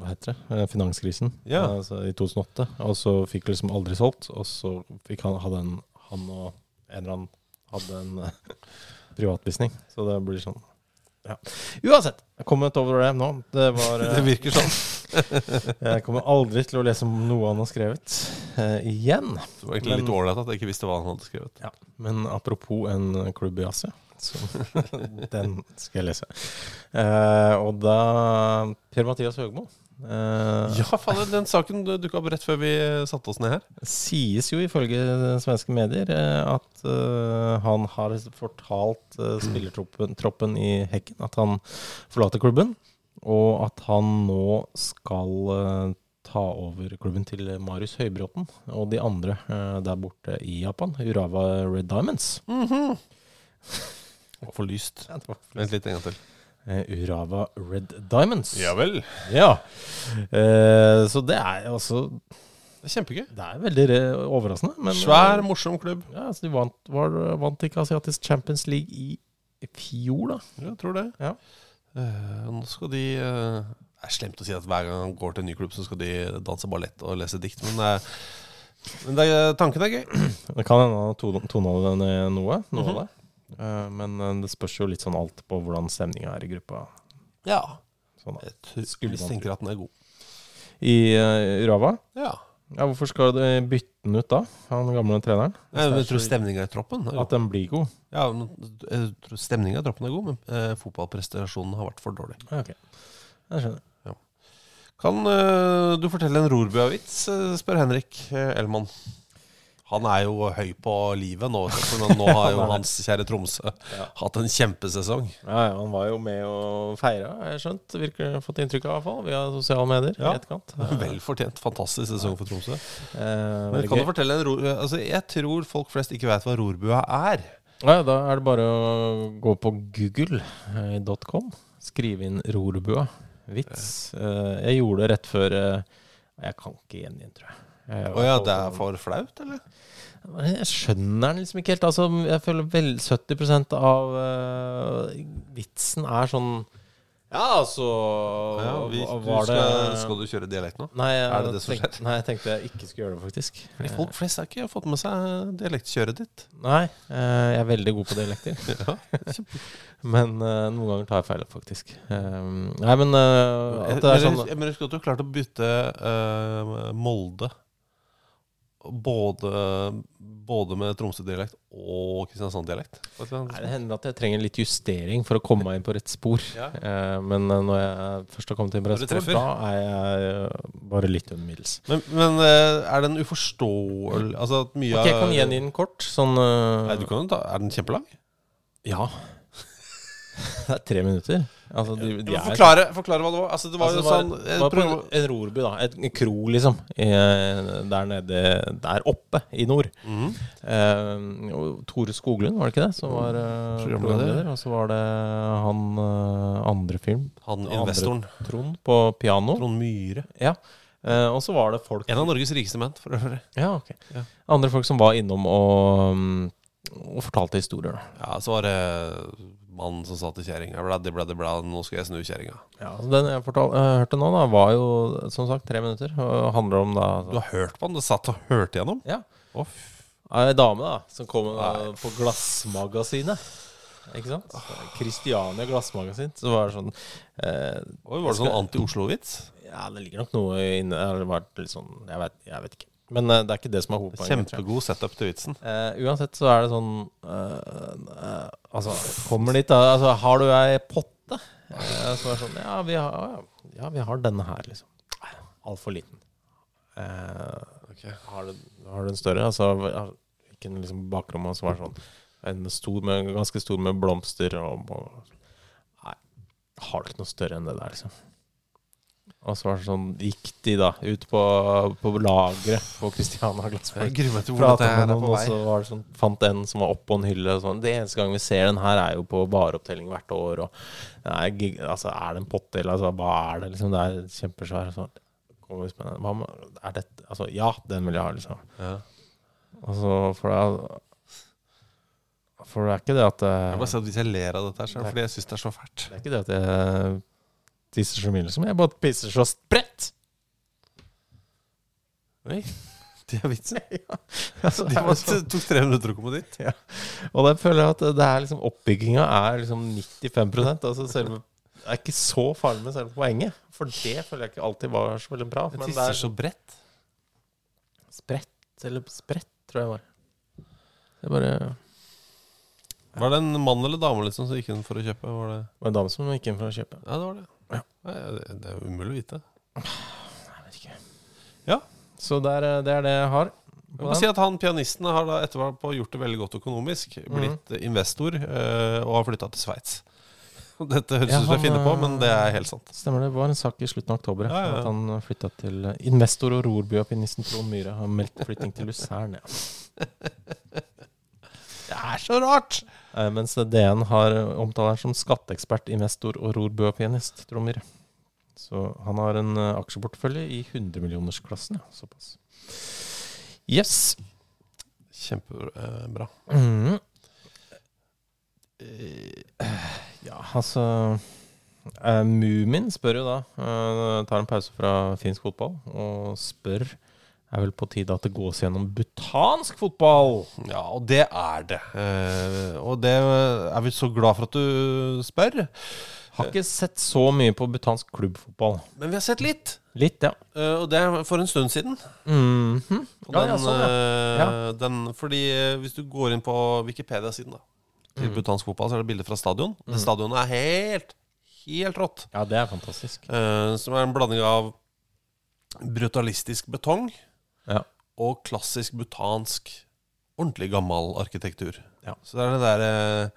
Speaker 4: hva heter det? Eh, finanskrisen
Speaker 3: Ja.
Speaker 4: Eh, altså, i 2008. Og så fikk jeg liksom aldri solgt. Og så fikk han, hadde en, han og en eller annen hadde en eh, privatvisning. Så det blir sånn. Ja. Uansett, jeg kom ut over det nå. Det, var, eh,
Speaker 3: Det virker sånn.
Speaker 4: jeg kommer aldri til å lese noe han har skrevet eh, igjen.
Speaker 3: Det var egentlig litt ålreit at jeg ikke visste hva han hadde skrevet.
Speaker 4: Ja, men apropos en klubb i Asia, så den skal jeg lese. Eh, og da Per-Mathias Høgmo. eh,
Speaker 3: Ja, faen, den saken dukka opp rett før vi eh, satte oss ned her.
Speaker 4: Sies jo ifølge svenske medier eh, at eh, han har fortalt eh, spillertroppen troppen i Hekken at han forlater klubben, og at han nå skal eh, ta over klubben til Marius Høybråten og de andre eh, der borte i Japan, Urawa Red Diamonds.
Speaker 3: Og for lyst. Vent litt en gang til.
Speaker 4: Eh, Urava Red Diamonds.
Speaker 3: vel.
Speaker 4: Ja. Eh, så det er altså
Speaker 3: Det er kjempegøy.
Speaker 4: Det er veldig eh, overraskende. Men,
Speaker 3: Svær, morsom klubb.
Speaker 4: Ja, altså de vant, var, vant ikke Asiatisk Champions League i i fjor, da.
Speaker 3: Jeg tror det.
Speaker 4: Ja.
Speaker 3: Eh, nå skal de eh, Det er slemt å si at hver gang han går til en ny klubb, så skal de danse ballett og lese dikt, men, eh, men det, er- tanken er gøy.
Speaker 4: Det kan hende han har to- tona det ned noe. noe
Speaker 3: Mhm.
Speaker 4: av det. Eh, men eh, det spørs jo litt sånn alt på hvordan stemninga er i gruppa.
Speaker 3: Ja.
Speaker 4: Sånn, da.
Speaker 3: Jeg tror,
Speaker 4: man
Speaker 3: mistenker at den er god.
Speaker 4: I eh, Urava?
Speaker 3: Ja.
Speaker 4: Ja, hvorfor skal de bytte den ut da, han gamle treneren?
Speaker 3: Jeg, tror stemninga i troppen er
Speaker 4: At
Speaker 3: god.
Speaker 4: den blir god?
Speaker 3: Ja, men jeg tror stemninga i troppen er god, men eh, fotballprestasjonen har vært for dårlig.
Speaker 4: Ja, Ok, jeg skjønner.
Speaker 3: Kan eh, du fortelle en Rorbua-vits, eh, spør Henrik eh, Elman. Han er jo høy på livet nå, vet du, for nå har jo hans kjære Tromsø hatt en kjempesesong.
Speaker 4: Ja, ja, Han var jo med og feira, har jeg skjønt. Virker fått inntrykk av, i hvert fall. Via sosiale medier
Speaker 3: Ja.
Speaker 4: i etterkant.
Speaker 3: Vel fortjent. Fantastisk sesong for Tromsø.
Speaker 4: Eh, veldig
Speaker 3: Men kan
Speaker 4: gøy.
Speaker 3: du fortelle en ro... Altså, jeg tror folk flest ikke vet hva rorbua er.
Speaker 4: ja, da er det bare å gå på google.com, skrive inn rorbua. Vits. Eh, jeg gjorde det rett før eh, Jeg kan ikke gjengi den, tror jeg. jeg.
Speaker 3: Å ja, det er for flaut, eller?
Speaker 4: Jeg skjønner den liksom ikke helt. Altså, jeg føler vel 70 av eh, vitsen er sånn ja, Ja, altså
Speaker 3: Ja, vi-
Speaker 4: hva-
Speaker 3: du
Speaker 4: var
Speaker 3: skal- skal du kjøre dialekt nå?
Speaker 4: Nei, jeg
Speaker 3: Er det det som
Speaker 4: tenkte, Nei, jeg tenkte jeg ikke skulle gjøre det, faktisk.
Speaker 3: Fordi folk flest har ikke fått med seg dialektkjøret ditt.
Speaker 4: Nei, eh, jeg er veldig god på dialekter. men eh, noen ganger tar jeg feil, faktisk. Um, nei, men eh, at det er sånn
Speaker 3: men, men husk at du har klart å bytte eh, Molde både, både med Tromsø-dialekt og Kristiansand-dialekt.
Speaker 4: Nei, det hender at jeg trenger litt justering for å komme meg inn på rett spor. Eh, men eh, når jeg først har kommet inn på
Speaker 3: Når du
Speaker 4: rett spor,
Speaker 3: treffer.
Speaker 4: da er jeg eh, bare litt under middels.
Speaker 3: Men, men eh, er den uforståelig altså at mye
Speaker 4: Ok, jeg kan
Speaker 3: av-
Speaker 4: gjengi den kort. Sånn
Speaker 3: Nei, du kan jo ta, Er den kjempelang?
Speaker 4: Ja. det er tre minutter. Altså, de, de
Speaker 3: Ja,
Speaker 4: er-
Speaker 3: forklare, forklare hva det var. Altså, det var
Speaker 4: Altså,
Speaker 3: jo sånn
Speaker 4: det var på en, en rorby, da. Et, en kro, liksom. eh, Der nede Der oppe, i nord.
Speaker 3: Mhm.
Speaker 4: Eh, og Tore Skoglund, var det ikke det? Som var eh,
Speaker 3: Programleder.
Speaker 4: programleder. Og så var det han eh, andre fyren.
Speaker 3: Han
Speaker 4: andre
Speaker 3: investoren.
Speaker 4: Trond på piano.
Speaker 3: Trond Myhre.
Speaker 4: Ja. Eh, og så var det folk
Speaker 3: En av Norges rikeste menn, for øvrig.
Speaker 4: ja, ok.
Speaker 3: Ja.
Speaker 4: Andre folk som var innom og, mm, og fortalte historier. Da.
Speaker 3: Ja, så var det mannen som sa til kjerringa Bladdi, bladdi, blad, nå skal jeg snu kjerringa.
Speaker 4: Ja, så den jeg fortal, eh, hørte nå, da, var jo som sagt tre minutter. Og handler om da altså-
Speaker 3: Du har hørt på han? Du satt og hørte gjennom?
Speaker 4: Ja.
Speaker 3: Å, f-
Speaker 4: Ei dame da, som kom eh, på Glassmagasinet. Ikke sant? Kristiania Glassmagasin. Så var det sånn eh,
Speaker 3: Oi, var det sånn anti-Oslo-vits?
Speaker 4: Ja, det ligger nok noe inne eller det var litt sånn, jeg, vet, jeg vet ikke. Men eh, det er ikke det som er hovedpoenget. tror jeg.
Speaker 3: Kjempegod setup til vitsen.
Speaker 4: Eh, uansett så er det sånn eh, eh, Altså, kommer dit da altså, Har du ei potte? Eh, så er det sånn Ja, vi har, ja, vi har denne her, liksom. Altfor liten. Eh, har, du, har du en større? Altså, har- hvilken liksom, bakrom som er sånn en stor med, Ganske stor med blomster og, og Nei, har du ikke noe større enn det der, liksom? Og så var det sånn, gikk de da ut på, på lageret på Christiana Glassberg
Speaker 3: Jeg gruer meg til hvor
Speaker 4: pratet
Speaker 3: dette her er
Speaker 4: med noen,
Speaker 3: på
Speaker 4: og
Speaker 3: vei.
Speaker 4: så var det sånn, fant en som var oppå en hylle. Og sånn. Det eneste gang vi ser den her, er jo på vareopptelling hvert år. Og, nei, gig- altså, er det en potte, eller altså, hva er det? Liksom, det er kjempesvær. og sånn. Kommer vi spennende. Hva med, er dette? Altså, ja, den vil jeg ha, liksom. Og så for det, er- for det er ikke det at
Speaker 3: Jeg
Speaker 4: eh,
Speaker 3: bare ser at Hvis jeg ler av dette, her, så er det fordi jeg syns det er så fælt.
Speaker 4: Det er ikke det at jeg tisser så mye, liksom. Jeg bare pisser så spredt!
Speaker 3: Oi, det er vitsen.
Speaker 4: Altså,
Speaker 3: Det
Speaker 4: er
Speaker 3: var,
Speaker 4: jo sånn-
Speaker 3: det tok tre minutter å komme dit.
Speaker 4: Ja. Og der føler jeg at det er liksom oppbygginga er liksom 95 altså selve, Det er ikke så farlig med selve poenget, for det føler jeg ikke alltid var så veldig bra.
Speaker 3: Jeg
Speaker 4: Men det
Speaker 3: tisser
Speaker 4: er
Speaker 3: så bredt.
Speaker 4: spredt, eller spredt, tror jeg var. Det er bare det
Speaker 3: Var det en mann eller dame liksom som gikk inn for å kjøpe? Var det...
Speaker 4: var en dame som gikk inn for å kjøpe.
Speaker 3: Ja, det var det. Nei, det- det er jo umulig å vite.
Speaker 4: Jeg vet ikke.
Speaker 3: Ja.
Speaker 4: Så det er, eh, det er det jeg har.
Speaker 3: Jeg må si at han pianisten har da etterpå gjort det veldig godt økonomisk.
Speaker 4: Mhm.
Speaker 3: Blitt investor eh, og har flytta til Sveits. Dette høres
Speaker 4: Ja,
Speaker 3: ut som jeg
Speaker 4: han,
Speaker 3: finner på,
Speaker 4: eh,
Speaker 3: men det er helt sant.
Speaker 4: Stemmer det. Det var en sak i slutten av oktober ja,
Speaker 3: Ja, ja, ja.
Speaker 4: at han flytta til eh, investor og rorby og pianisten Trond Myhre har meldt flytting til Luzern. Ja.
Speaker 3: Det er så rart!
Speaker 4: Eh, Mens DN har omtalt ham som skatteekspert, investor og rorbø-pianist, Trond Myhre. Så han har en eh, aksjeportefølje i 100-millionersklassen, ja. Såpass. Yes.
Speaker 3: Kjempebra.
Speaker 4: Mhm. Eh, Ja, altså eh, Mumin spør jo da eh, Tar en pause fra finsk fotball og spør Er vel på tide at det gås gjennom butansk fotball?
Speaker 3: Ja, og det er det. Eh, og det er vi så glad for at du spør.
Speaker 4: Har ikke sett så mye på butansk klubbfotball.
Speaker 3: Men vi har sett litt.
Speaker 4: Litt, ja.
Speaker 3: eh, og det er for en stund siden.
Speaker 4: Mhm.
Speaker 3: Og
Speaker 4: Ja,
Speaker 3: den,
Speaker 4: ja, sånn, ja.
Speaker 3: eh,
Speaker 4: Ja.
Speaker 3: den, fordi eh, hvis du går inn på Wikipedia-siden da til
Speaker 4: Mm.
Speaker 3: butansk fotball, så er det bilder fra stadion. Det stadionet er helt, helt rått.
Speaker 4: ja, det er fantastisk.
Speaker 3: Eh, som er en blanding av brutalistisk betong
Speaker 4: Ja.
Speaker 3: og klassisk butansk, ordentlig gammel arkitektur.
Speaker 4: Ja.
Speaker 3: Så det er det derre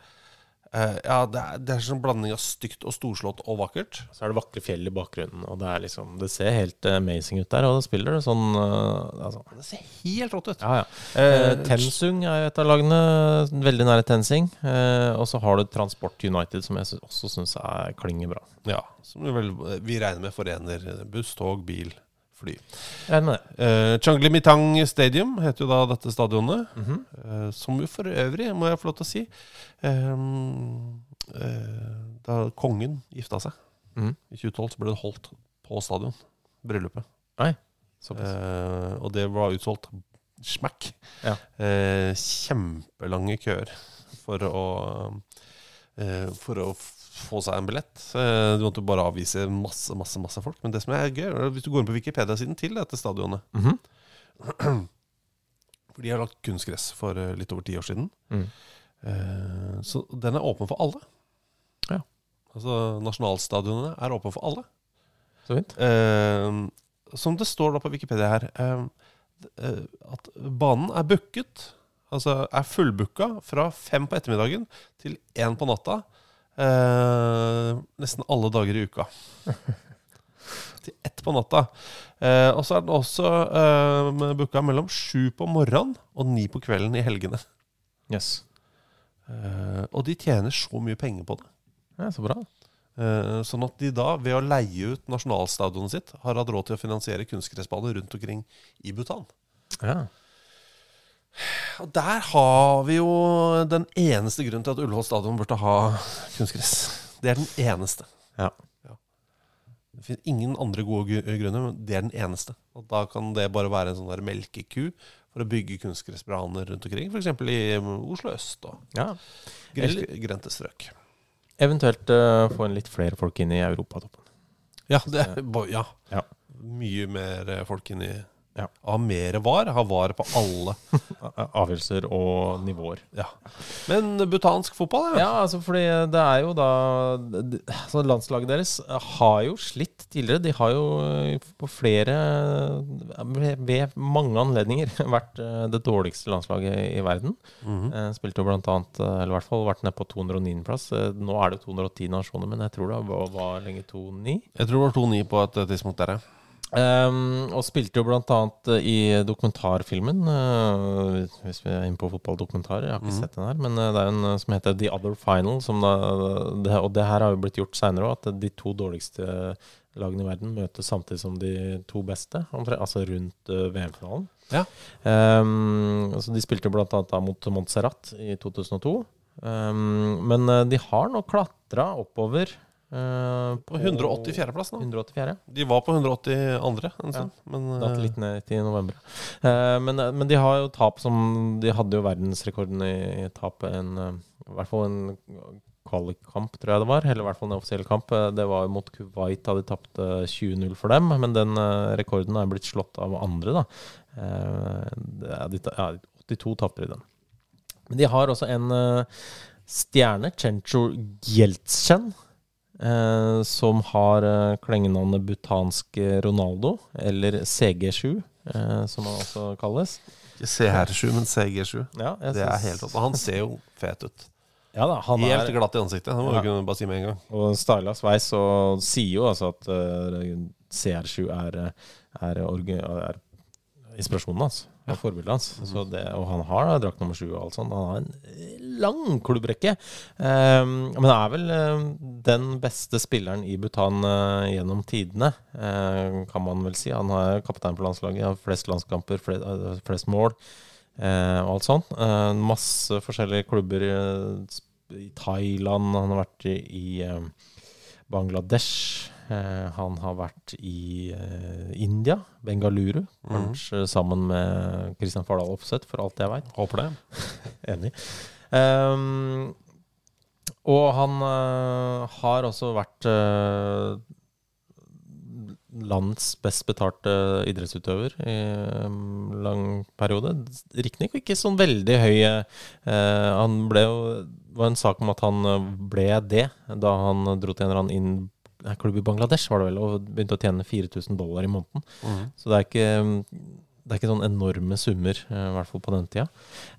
Speaker 3: Ja, det er, det er sånn blanding av stygt og storslått og vakkert.
Speaker 4: Så er det vakre fjell i bakgrunnen, og det, er liksom, det ser helt eh, amazing ut der. Og da spiller det sånn eh, altså.
Speaker 3: Det ser helt rått ut.
Speaker 4: Ja, ja. Eh, Tensung er jo et av lagene, veldig nære Tensing. Eh, og så har du Transport United, som jeg sy- også syns klinger bra.
Speaker 3: Ja, som vi vel, vi regner med forener buss, tog, bil, fly.
Speaker 4: Regner med det.
Speaker 3: Eh, Changli Mitang Stadium heter jo da dette stadionet. eh, som jo for øvrig, må jeg få lov til å si eh, eh, Da kongen gifta seg.
Speaker 4: Mhm.
Speaker 3: I 2012 så ble det holdt på stadion. Bryllupet.
Speaker 4: Nei,
Speaker 3: Eh, og det var utsolgt smekk.
Speaker 4: Ja.
Speaker 3: Eh, kjempelange køer for å eh, For å få seg en billett. Eh, du måtte bare avvise masse, masse masse folk. Men det som er gøy, er at hvis du går inn på Wikipedia-siden til dette stadionet
Speaker 4: Mhm.
Speaker 3: For de har lagt kunstgress for eh, litt over ti år siden.
Speaker 4: Mhm.
Speaker 3: Eh, så den er åpen for alle.
Speaker 4: Ja.
Speaker 3: Altså Nasjonalstadionene er åpne for alle.
Speaker 4: Så fint.
Speaker 3: Eh, som det står da på Wikipedia her, eh, eh, at banen er booket, altså er fullbooka fra fem på ettermiddagen til én på natta eh, nesten alle dager i uka. til ett på natta. Eh, og så er den også eh, booka mellom sju på morgenen og ni på kvelden i helgene.
Speaker 4: Yes.
Speaker 3: Eh, og de tjener så mye penger på det.
Speaker 4: Ja, så bra.
Speaker 3: Eh, Sånn at de da, ved å leie ut nasjonalstadionet sitt, har hatt råd til å finansiere kunstgressbaner rundt omkring i Bhutan.
Speaker 4: Ja.
Speaker 3: Og der har vi jo den eneste grunnen til at Ullevål stadion burde ha kunstgress. Det er den eneste.
Speaker 4: Ja.
Speaker 3: Det finnes ingen andre gode gru- grunner, men det er den eneste. Og da kan det bare være en sånn der melkeku for å bygge kunstgressbaner rundt omkring, f.eks. i Oslo øst og
Speaker 4: ja.
Speaker 3: gres- grendte strøk.
Speaker 4: Eventuelt eh, få inn litt flere folk inn i europatoppen.
Speaker 3: Ja, det er, bo- ja.
Speaker 4: Eh, Ja.
Speaker 3: Mye mer eh, folk inni
Speaker 4: Ja.
Speaker 3: Ha mer var. Ha var på alle.
Speaker 4: A- Avgjørelser og nivåer.
Speaker 3: Ja. Men butansk fotball, ja.
Speaker 4: Ja, altså fordi det er jo da d- altså Landslaget deres har jo slitt tidligere. De har jo eh, på flere ved- Ved mange anledninger vært eh, det dårligste landslaget i verden. Eh, Spilte jo blant annet, eh, eller i hvert fall vært nede på 209.-plass. Nå er det 210 nasjoner, men jeg tror det var, var lenge 209.
Speaker 3: Jeg tror det var 2-9 på et eh, tidspunkt der, ja.
Speaker 4: Ehm, og spilte jo blant annet eh, i dokumentarfilmen eh, Hvis vi er inne på fotballdokumentarer, jeg har
Speaker 3: Mhm.
Speaker 4: ikke sett den her, men eh, det er en eh, som heter The Other Final. Som da, eh, det, og det her har jo blitt gjort seinere òg, at eh, de to dårligste eh, lagene i verden møtes samtidig som de to beste, omtre- altså rundt eh, VM-finalen.
Speaker 3: Ja.
Speaker 4: Ehm, så de spilte jo blant annet da mot Montserrat i 2002. Ehm, men eh, de har nå klatra oppover. eh,
Speaker 3: På 184.-plass nå.
Speaker 4: 184.
Speaker 3: De var på 182. en stund, men eh,
Speaker 4: Datt litt ned i november. Eh, men, men de har jo tap som De hadde jo verdensrekorden i, i tap en, eh, I hvert fall en kvalikkamp, tror jeg det var. Eller i hvert fall en offisiell kamp. Eh, Det var jo mot Kuwait da de tapte 20-0 for dem. Men den eh, rekorden er blitt slått av andre, da. Eh, det er, de ta- ja, 82 tapere i den. Men de har også en eh, stjerne, Chencho Gjeltsen, eh, som har eh, klengenavnet butansk Ronaldo, eller CG7, eh, som han også kalles.
Speaker 3: Ikke CR7, men CG7.
Speaker 4: Ja, jeg
Speaker 3: Det er
Speaker 4: synes-
Speaker 3: helt opp. Og han ser jo fet ut.
Speaker 4: Ja da, han
Speaker 3: Helt
Speaker 4: er
Speaker 3: glatt i ansiktet. Det må
Speaker 4: Ja.
Speaker 3: du kunne bare si med en gang.
Speaker 4: og styla sveis og sier jo altså at eh, CR7 er, eh, er, orgi- er inspirasjonen hans. Er forbildet hans. Så det, og han har da drakt nummer sju og alt sånt. Han har en lang klubbrekke. Um, men er vel eh, den beste spilleren i Bhutan eh, gjennom tidene, eh, kan man vel si. Han er kaptein på landslaget, har flest landskamper, flest, eh, flest mål eh, og alt sånt. Eh, masse forskjellige klubber eh, sp- i Thailand, han har vært i, i eh, Bangladesh. Eh, han har vært i eh, India, Bengaluru, kanskje sammen med Kristian Fardal Opseth, for alt jeg veit. Håper det. Enig. Ehm, og han eh, har også vært eh, landets best betalte idrettsutøver i en lang periode. Riktignok ikke sånn veldig høy eh, Han ble jo Det var en sak om at han eh, ble det da han dro til en eller annen inn- nei, klubb i Bangladesh, var det vel, og begynte å tjene 4000 dollar i måneden. Så det er ikke mm, det er ikke sånn enorme summer, eh, i hvert fall på den tida.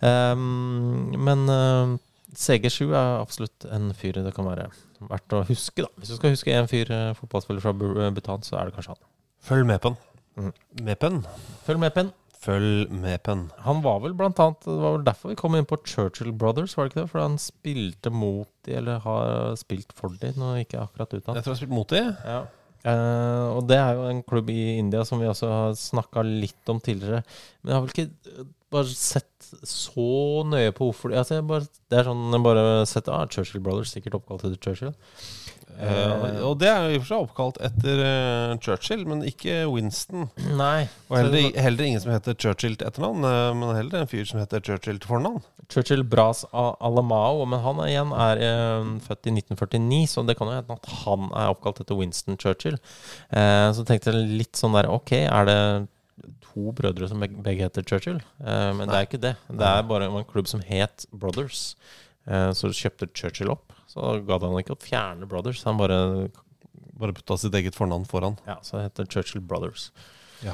Speaker 4: Ehm, men eh, CG7 er absolutt en fyr det kan være verdt å huske, da. Hvis du skal huske en fyr, eh, fotballspiller fra Bu- eh, Bhutan, så er det kanskje han.
Speaker 3: Følg med på den.
Speaker 4: Mhm.
Speaker 3: Med på den.
Speaker 4: Følg med, Penn.
Speaker 3: Følg med på den.
Speaker 4: Han var vel blant annet Det var vel derfor vi kom inn på Churchill Brothers, var det ikke det? For han spilte mot de, eller har spilt for de, nå gikk jeg akkurat ut av
Speaker 3: Jeg tror jeg har spilt mot dem.
Speaker 4: Ja. Eh, og det er jo en klubb i India som vi også har snakka litt om tidligere. Men jeg har vel ikke eh, bare sett så nøye på hvorfor de altså, jeg bare, Det er sånn jeg bare sett ah, Churchill Brothers, sikkert oppkalt etter Churchill.
Speaker 3: Eh, og det er jo i og for seg oppkalt etter eh, Churchill, men ikke Winston.
Speaker 4: Nei.
Speaker 3: Og heller, heller ingen som heter Churchill til etternavn, eh, men heller en fyr som heter Churchill til fornavn.
Speaker 4: Churchill Bras A- Alamao, men han er igjen er eh, født i 1949, så det kan jo hende at han er oppkalt etter Winston Churchill. Eh, så tenkte jeg litt sånn der Ok, er det to brødre som beg- begge heter Churchill? Eh, men det er ikke det. Det er bare en klubb som het Brothers. Eh, så kjøpte Churchill opp. Så gadd han ikke å fjerne Brothers. Han bare
Speaker 3: Bare putta sitt eget fornavn foran.
Speaker 4: Ja, så det heter Churchill Brothers.
Speaker 3: Ja.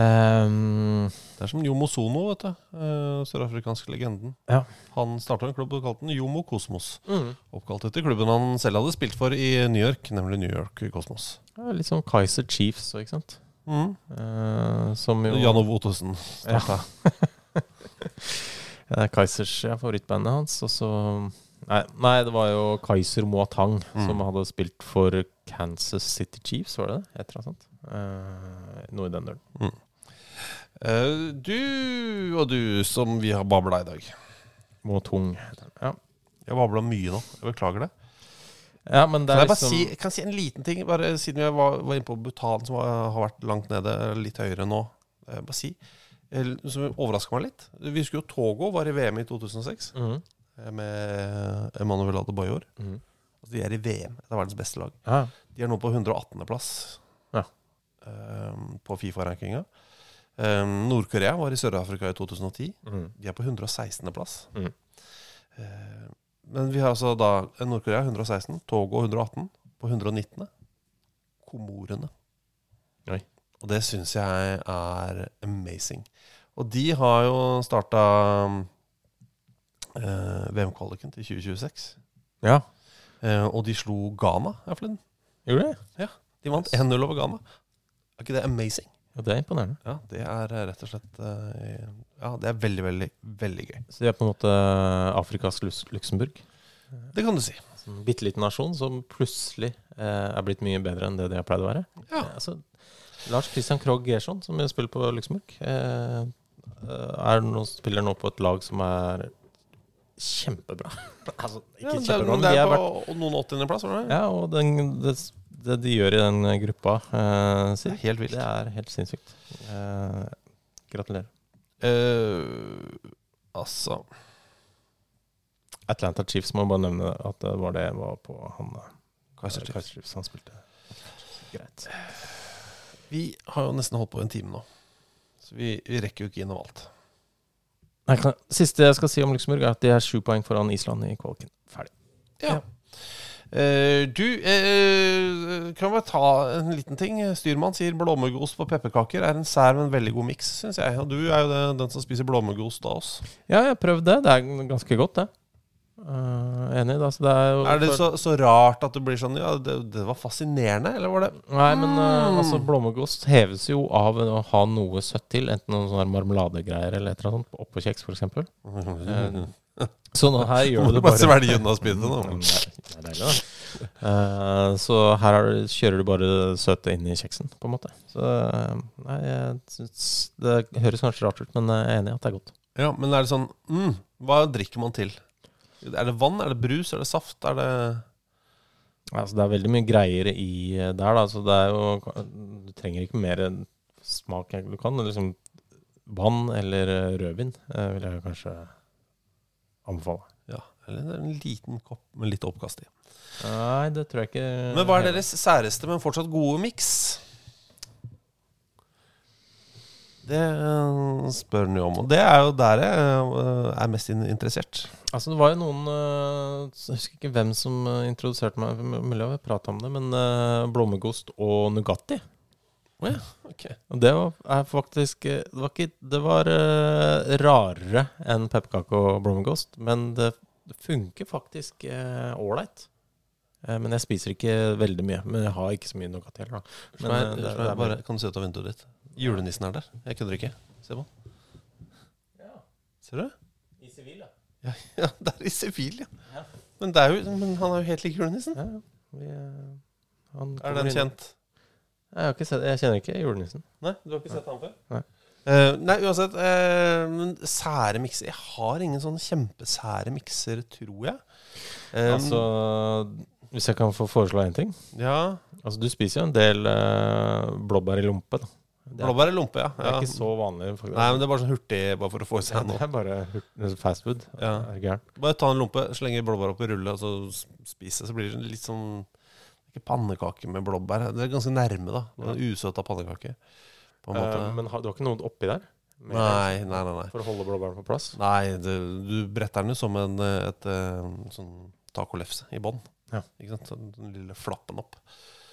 Speaker 4: Ehm,
Speaker 3: Det er som Jomo Sono, vet du. Eh, Sørafrikanske legenden.
Speaker 4: Ja.
Speaker 3: Han starta en klubb og kalte den Jomo Kosmos.
Speaker 4: Mm.
Speaker 3: Oppkalt etter klubben han selv hadde spilt for i New York, nemlig New York Kosmos.
Speaker 4: ja, litt sånn Kaiser Chiefs, ikke sant?
Speaker 3: Mm.
Speaker 4: Eh, som jo
Speaker 3: Jan Ove Ottesen starta.
Speaker 4: Ja, det er Kaizers ja, favorittbandet hans. Og så nei, nei, det var jo Kaiser Moatang
Speaker 3: Mm.
Speaker 4: som hadde spilt for Kansas City Chiefs, var det det? Et eller annet sånt. Eh, noe i den duren.
Speaker 3: Eh, du og du som vi har babla i dag.
Speaker 4: Moatung heter den. Ja.
Speaker 3: Jeg babla mye nå. Jeg beklager det.
Speaker 4: ja, men det
Speaker 3: Kan
Speaker 4: er
Speaker 3: jeg bare
Speaker 4: liksom
Speaker 3: si, kan jeg si en liten ting? Bare Siden jeg var, var inne på Bhutan, som har har vært langt nede, litt høyere nå. Eh, Bare si, eh, Som overraska meg litt. Vi husker jo Togo var i VM i 2006
Speaker 4: Mhm.
Speaker 3: eh, med Emanuel Adebayor.
Speaker 4: Mhm.
Speaker 3: Altså, de er i VM. Det er verdens beste lag.
Speaker 4: Ja.
Speaker 3: De er nå på 118.-plass
Speaker 4: Ja.
Speaker 3: på Fifa-rankinga. Um, Nord-Korea var i Sør-Afrika i 2010.
Speaker 4: Mhm.
Speaker 3: De er på 116.-plass.
Speaker 4: Mhm.
Speaker 3: men vi har altså da Nord-Korea 116, Togo 118, på 119. Komorene.
Speaker 4: Oi.
Speaker 3: Og det syns jeg er amazing. Og de har jo starta eh, VM-kvaliken til 2026.
Speaker 4: ja.
Speaker 3: Eh, og de slo Ghana her forleden.
Speaker 4: Gjorde det?
Speaker 3: De vant 1-0 over Ghana. Er ikke det amazing?
Speaker 4: Ja, det er imponerende.
Speaker 3: Ja, det er eh, rett og slett eh, Ja, det er veldig, veldig, veldig gøy.
Speaker 4: Så de er på en måte Afrikas Lus Luxembourg.
Speaker 3: Det kan du si.
Speaker 4: En bitte liten nasjon som plutselig eh, er blitt mye bedre enn det de har pleid å være.
Speaker 3: Ja.
Speaker 4: Eh, altså, Lars Christian Krogh Gerson, som spiller på Luxembourg, eh, er nå, spiller nå på et lag som er kjempebra. altså, ikke
Speaker 3: Ja, det, er-
Speaker 4: kjempebra, men
Speaker 3: det
Speaker 4: de
Speaker 3: er
Speaker 4: har vært
Speaker 3: på noen åttiendeplass, var det?
Speaker 4: Ja, og den, det, det de gjør i den gruppa eh,
Speaker 3: Det
Speaker 4: sin,
Speaker 3: er helt vilt.
Speaker 4: det er helt sinnssykt. Eh, gratulerer.
Speaker 3: Eh, altså
Speaker 4: Atlanta Chiefs må bare nevne at det var det jeg var på han eh,
Speaker 3: Kaiser Chiefs.
Speaker 4: Kaiser Chiefs han spilte. Greit.
Speaker 3: Vi har jo nesten holdt på en time nå. Så vi, vi rekker jo ikke innom alt.
Speaker 4: Nei, kan, siste jeg skal si om Luxembourg, er at de er sju poeng foran Island i kvaliken. Ferdig.
Speaker 3: Ja. Eh, du, eh, kan vi ta en liten ting? Styrmann sier blåmuggost på pepperkaker er en sær, men veldig god miks, syns jeg. Og du er jo det, den som spiser blåmuggost av oss.
Speaker 4: Ja, jeg har prøvd det. Det er ganske godt, det. Eh, enig. Da. Så det er jo
Speaker 3: Er det så, så rart at det blir sånn Ja, det, det var fascinerende, eller var det
Speaker 4: Nei, men eh, altså, blåmuggost heves jo av å ha noe søtt til. Enten noen sånne marmeladegreier eller et eller annet sånt, oppå kjeks, f.eks. Uh, så nå her gjør du
Speaker 3: Mm.
Speaker 4: det
Speaker 3: Bare
Speaker 4: bare
Speaker 3: se verdien av spydet nå.
Speaker 4: Mm, det er- det er deilig, da. Eh, så her er, det- kjører du bare søtet inn i kjeksen, på en måte. Så eh, nei, jeg syns Det høres kanskje rart ut, men eh, jeg er enig i at det er godt.
Speaker 3: Ja, men er det sånn mm, Hva drikker man til? Er det vann? Er det brus? Er det saft? Er det
Speaker 4: Altså, det er veldig mye greier i eh, der, da. Så det er jo Du trenger ikke mer smak enn du kan. Det er Liksom vann eller eh, rødvin eh, vil jeg kanskje anbefale.
Speaker 3: Ja, eller en liten kopp med litt oppkast i.
Speaker 4: Nei, det tror jeg ikke.
Speaker 3: Men hva
Speaker 4: Eh.
Speaker 3: er deres særeste, men fortsatt gode miks? Det eh, spør han jo om, og det er jo der jeg eh, er mest in- interessert.
Speaker 4: Altså, det var jo noen eh, Jeg husker ikke hvem som eh, introduserte meg, m- mulig jeg har prata om det, men eh, blåmuggost og Nugatti. Og det var er faktisk eh, Det var, ikke, det var eh, rarere enn pepperkake og blåmuggost, men det funker faktisk eh, ålreit. Eh, men jeg spiser ikke veldig mye. Men jeg har ikke så mye Nugatti heller, da. Men,
Speaker 3: Nei,
Speaker 4: eh, det,
Speaker 3: det,
Speaker 4: det er
Speaker 3: bare,
Speaker 4: bare
Speaker 3: kan du se ut av vinduet ditt? Julenissen er der. Jeg kødder ikke. Se på han. Ser du?
Speaker 4: I sivil, ja.
Speaker 3: Ja, ja, det er i sivil, ja. Men, det er jo, men han er jo helt lik julenissen.
Speaker 4: ja. Vi, eh, han
Speaker 3: Er
Speaker 4: kommer
Speaker 3: den
Speaker 4: inn.
Speaker 3: kjent?
Speaker 4: Jeg, har ikke sett, jeg kjenner ikke julenissen.
Speaker 3: Nei, du har ikke sett han før?
Speaker 4: Nei.
Speaker 3: Eh, Eh, nei, uansett. eh, men sære mikser Jeg har ingen sånn kjempesære mikser, tror jeg. Eh,
Speaker 4: altså, hvis jeg kan få foreslå én ting?
Speaker 3: Ja.
Speaker 4: Altså, du spiser jo en del eh, blåbær i lompe. da. Det er-
Speaker 3: Blåbær i lompe, ja.
Speaker 4: Det er
Speaker 3: Ja.
Speaker 4: ikke så vanlig. faktisk.
Speaker 3: Nei, men det er bare sånn hurtig bare for å få i
Speaker 4: Ja,
Speaker 3: seg
Speaker 4: det
Speaker 3: noe.
Speaker 4: er bare hurt- fast food.
Speaker 3: Ja.
Speaker 4: Er du gæren?
Speaker 3: Bare ta en lompe, slenge blåbær opp i rulle, og så s- spis det. Så blir det litt sånn Ikke pannekake med blåbær. Det er ganske nærme, da. Det er Usøta pannekake. På en måte.
Speaker 4: Eh, men har, du har ikke noe oppi der? Med-
Speaker 3: nei, nei, nei, nei.
Speaker 4: For å holde blåbærene på plass?
Speaker 3: Nei, det, du bretter den jo som en eh, et, eh, sånn tacolefse i bånn.
Speaker 4: Ja.
Speaker 3: Ikke sant? Den, den lille flappen opp.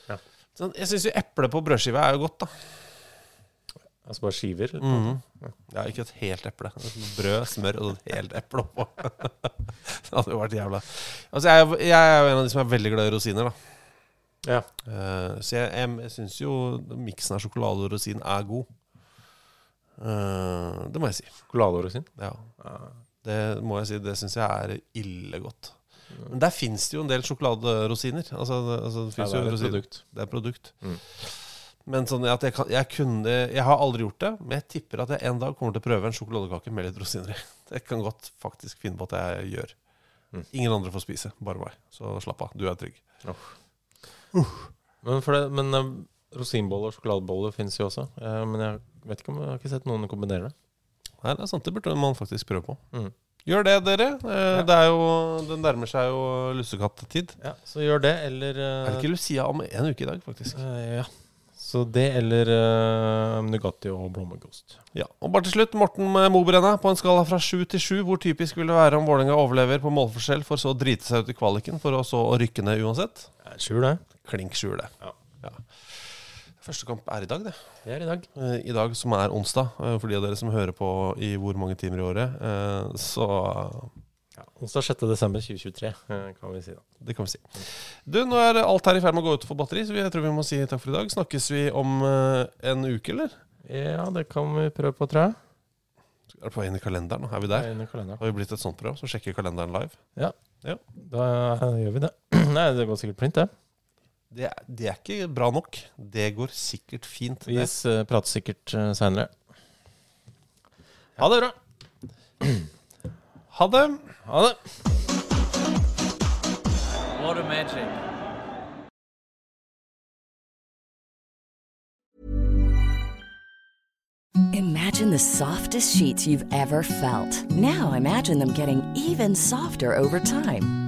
Speaker 4: Ja.
Speaker 3: Sånn, jeg syns jo eple på brødskive er jo godt, da.
Speaker 4: Altså bare skiver? på en
Speaker 3: Mhm.
Speaker 4: måte?
Speaker 3: Ja, ikke et helt eple. Brød, smør og et helt eple oppå. det hadde jo vært jævla Altså, jeg, er jo- jeg er jo en av de som er veldig glad i rosiner, da.
Speaker 4: Ja.
Speaker 3: Eh, så jeg, jeg, jeg syns jo miksen av sjokolade og rosin er god. Eh, det må jeg si.
Speaker 4: Sjokolade og rosin?
Speaker 3: Ja. Det må jeg si, det syns jeg er ille godt. Men der fins det jo en del sjokoladerosiner. Altså, det- altså, det,
Speaker 4: Ja,
Speaker 3: finnes
Speaker 4: det er
Speaker 3: jo
Speaker 4: et
Speaker 3: rosin-
Speaker 4: produkt.
Speaker 3: Det er et produkt.
Speaker 4: Mm.
Speaker 3: Men sånn at jeg, kan, jeg kunne Jeg har aldri gjort det, men jeg tipper at jeg en dag kommer til å prøve en sjokoladekake med litt rosiner i. Det kan godt faktisk finne på at jeg gjør.
Speaker 4: Mm.
Speaker 3: Ingen andre får spise, bare meg. Så slapp av, du er trygg.
Speaker 4: Men, for det, men eh, rosinboller og sjokoladeboller fins jo også. Eh, men jeg vet ikke om jeg har ikke sett noen kombinere det.
Speaker 3: Nei, det er sant, det burde man faktisk prøve på.
Speaker 4: Mm.
Speaker 3: Gjør det, dere. Eh,
Speaker 4: Ja.
Speaker 3: Det er jo Det nærmer seg jo lussekattid.
Speaker 4: Ja, så gjør det, eller
Speaker 3: Er det eh, ikke Lucia om en uke i dag, faktisk?
Speaker 4: Eh, Ja. Så det eller eh, Nugatti og blåmuggost.
Speaker 3: Ja, og bare til slutt, Morten Mobrenne, på en skala fra 7 til 7, hvor typisk vil det være om Vålerenga overlever på målforskjell for så å drite seg ut i kvaliken, for å så å rykke ned uansett?
Speaker 4: Skjul det.
Speaker 3: Klink 7, det.
Speaker 4: Ja.
Speaker 3: Første kamp er i dag, det.
Speaker 4: Det er i dag.
Speaker 3: Eh, I dag, som er onsdag. eh, For de av dere som hører på i hvor mange timer i året, eh, så
Speaker 4: Ja, onsdag 6. desember 2023, eh, kan vi si da.
Speaker 3: det kan vi si. Du, nå er alt her i ferd med å gå ut for batteri, så vi- jeg tror vi må si takk for i dag. Snakkes vi om eh, en uke, eller?
Speaker 4: Ja, det kan vi prøve på, tror jeg.
Speaker 3: Er det på vei inn i kalenderen? Er vi der?
Speaker 4: Det er inne i kalenderen.
Speaker 3: Har vi blitt et sånt program som sjekker kalenderen live?
Speaker 4: Da gjør vi det. Nei, det går sikkert print, det.
Speaker 3: Det er, det er ikke bra nok. Det går sikkert fint.
Speaker 4: Vi
Speaker 3: det.
Speaker 4: eh, prater sikkert uh, seinere. Ha det bra.
Speaker 3: Ha det!
Speaker 4: Ha det.
Speaker 7: What a magic.
Speaker 8: Imagine the softest sheets you've ever felt. Now imagine them getting even softer over time.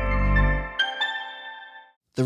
Speaker 9: The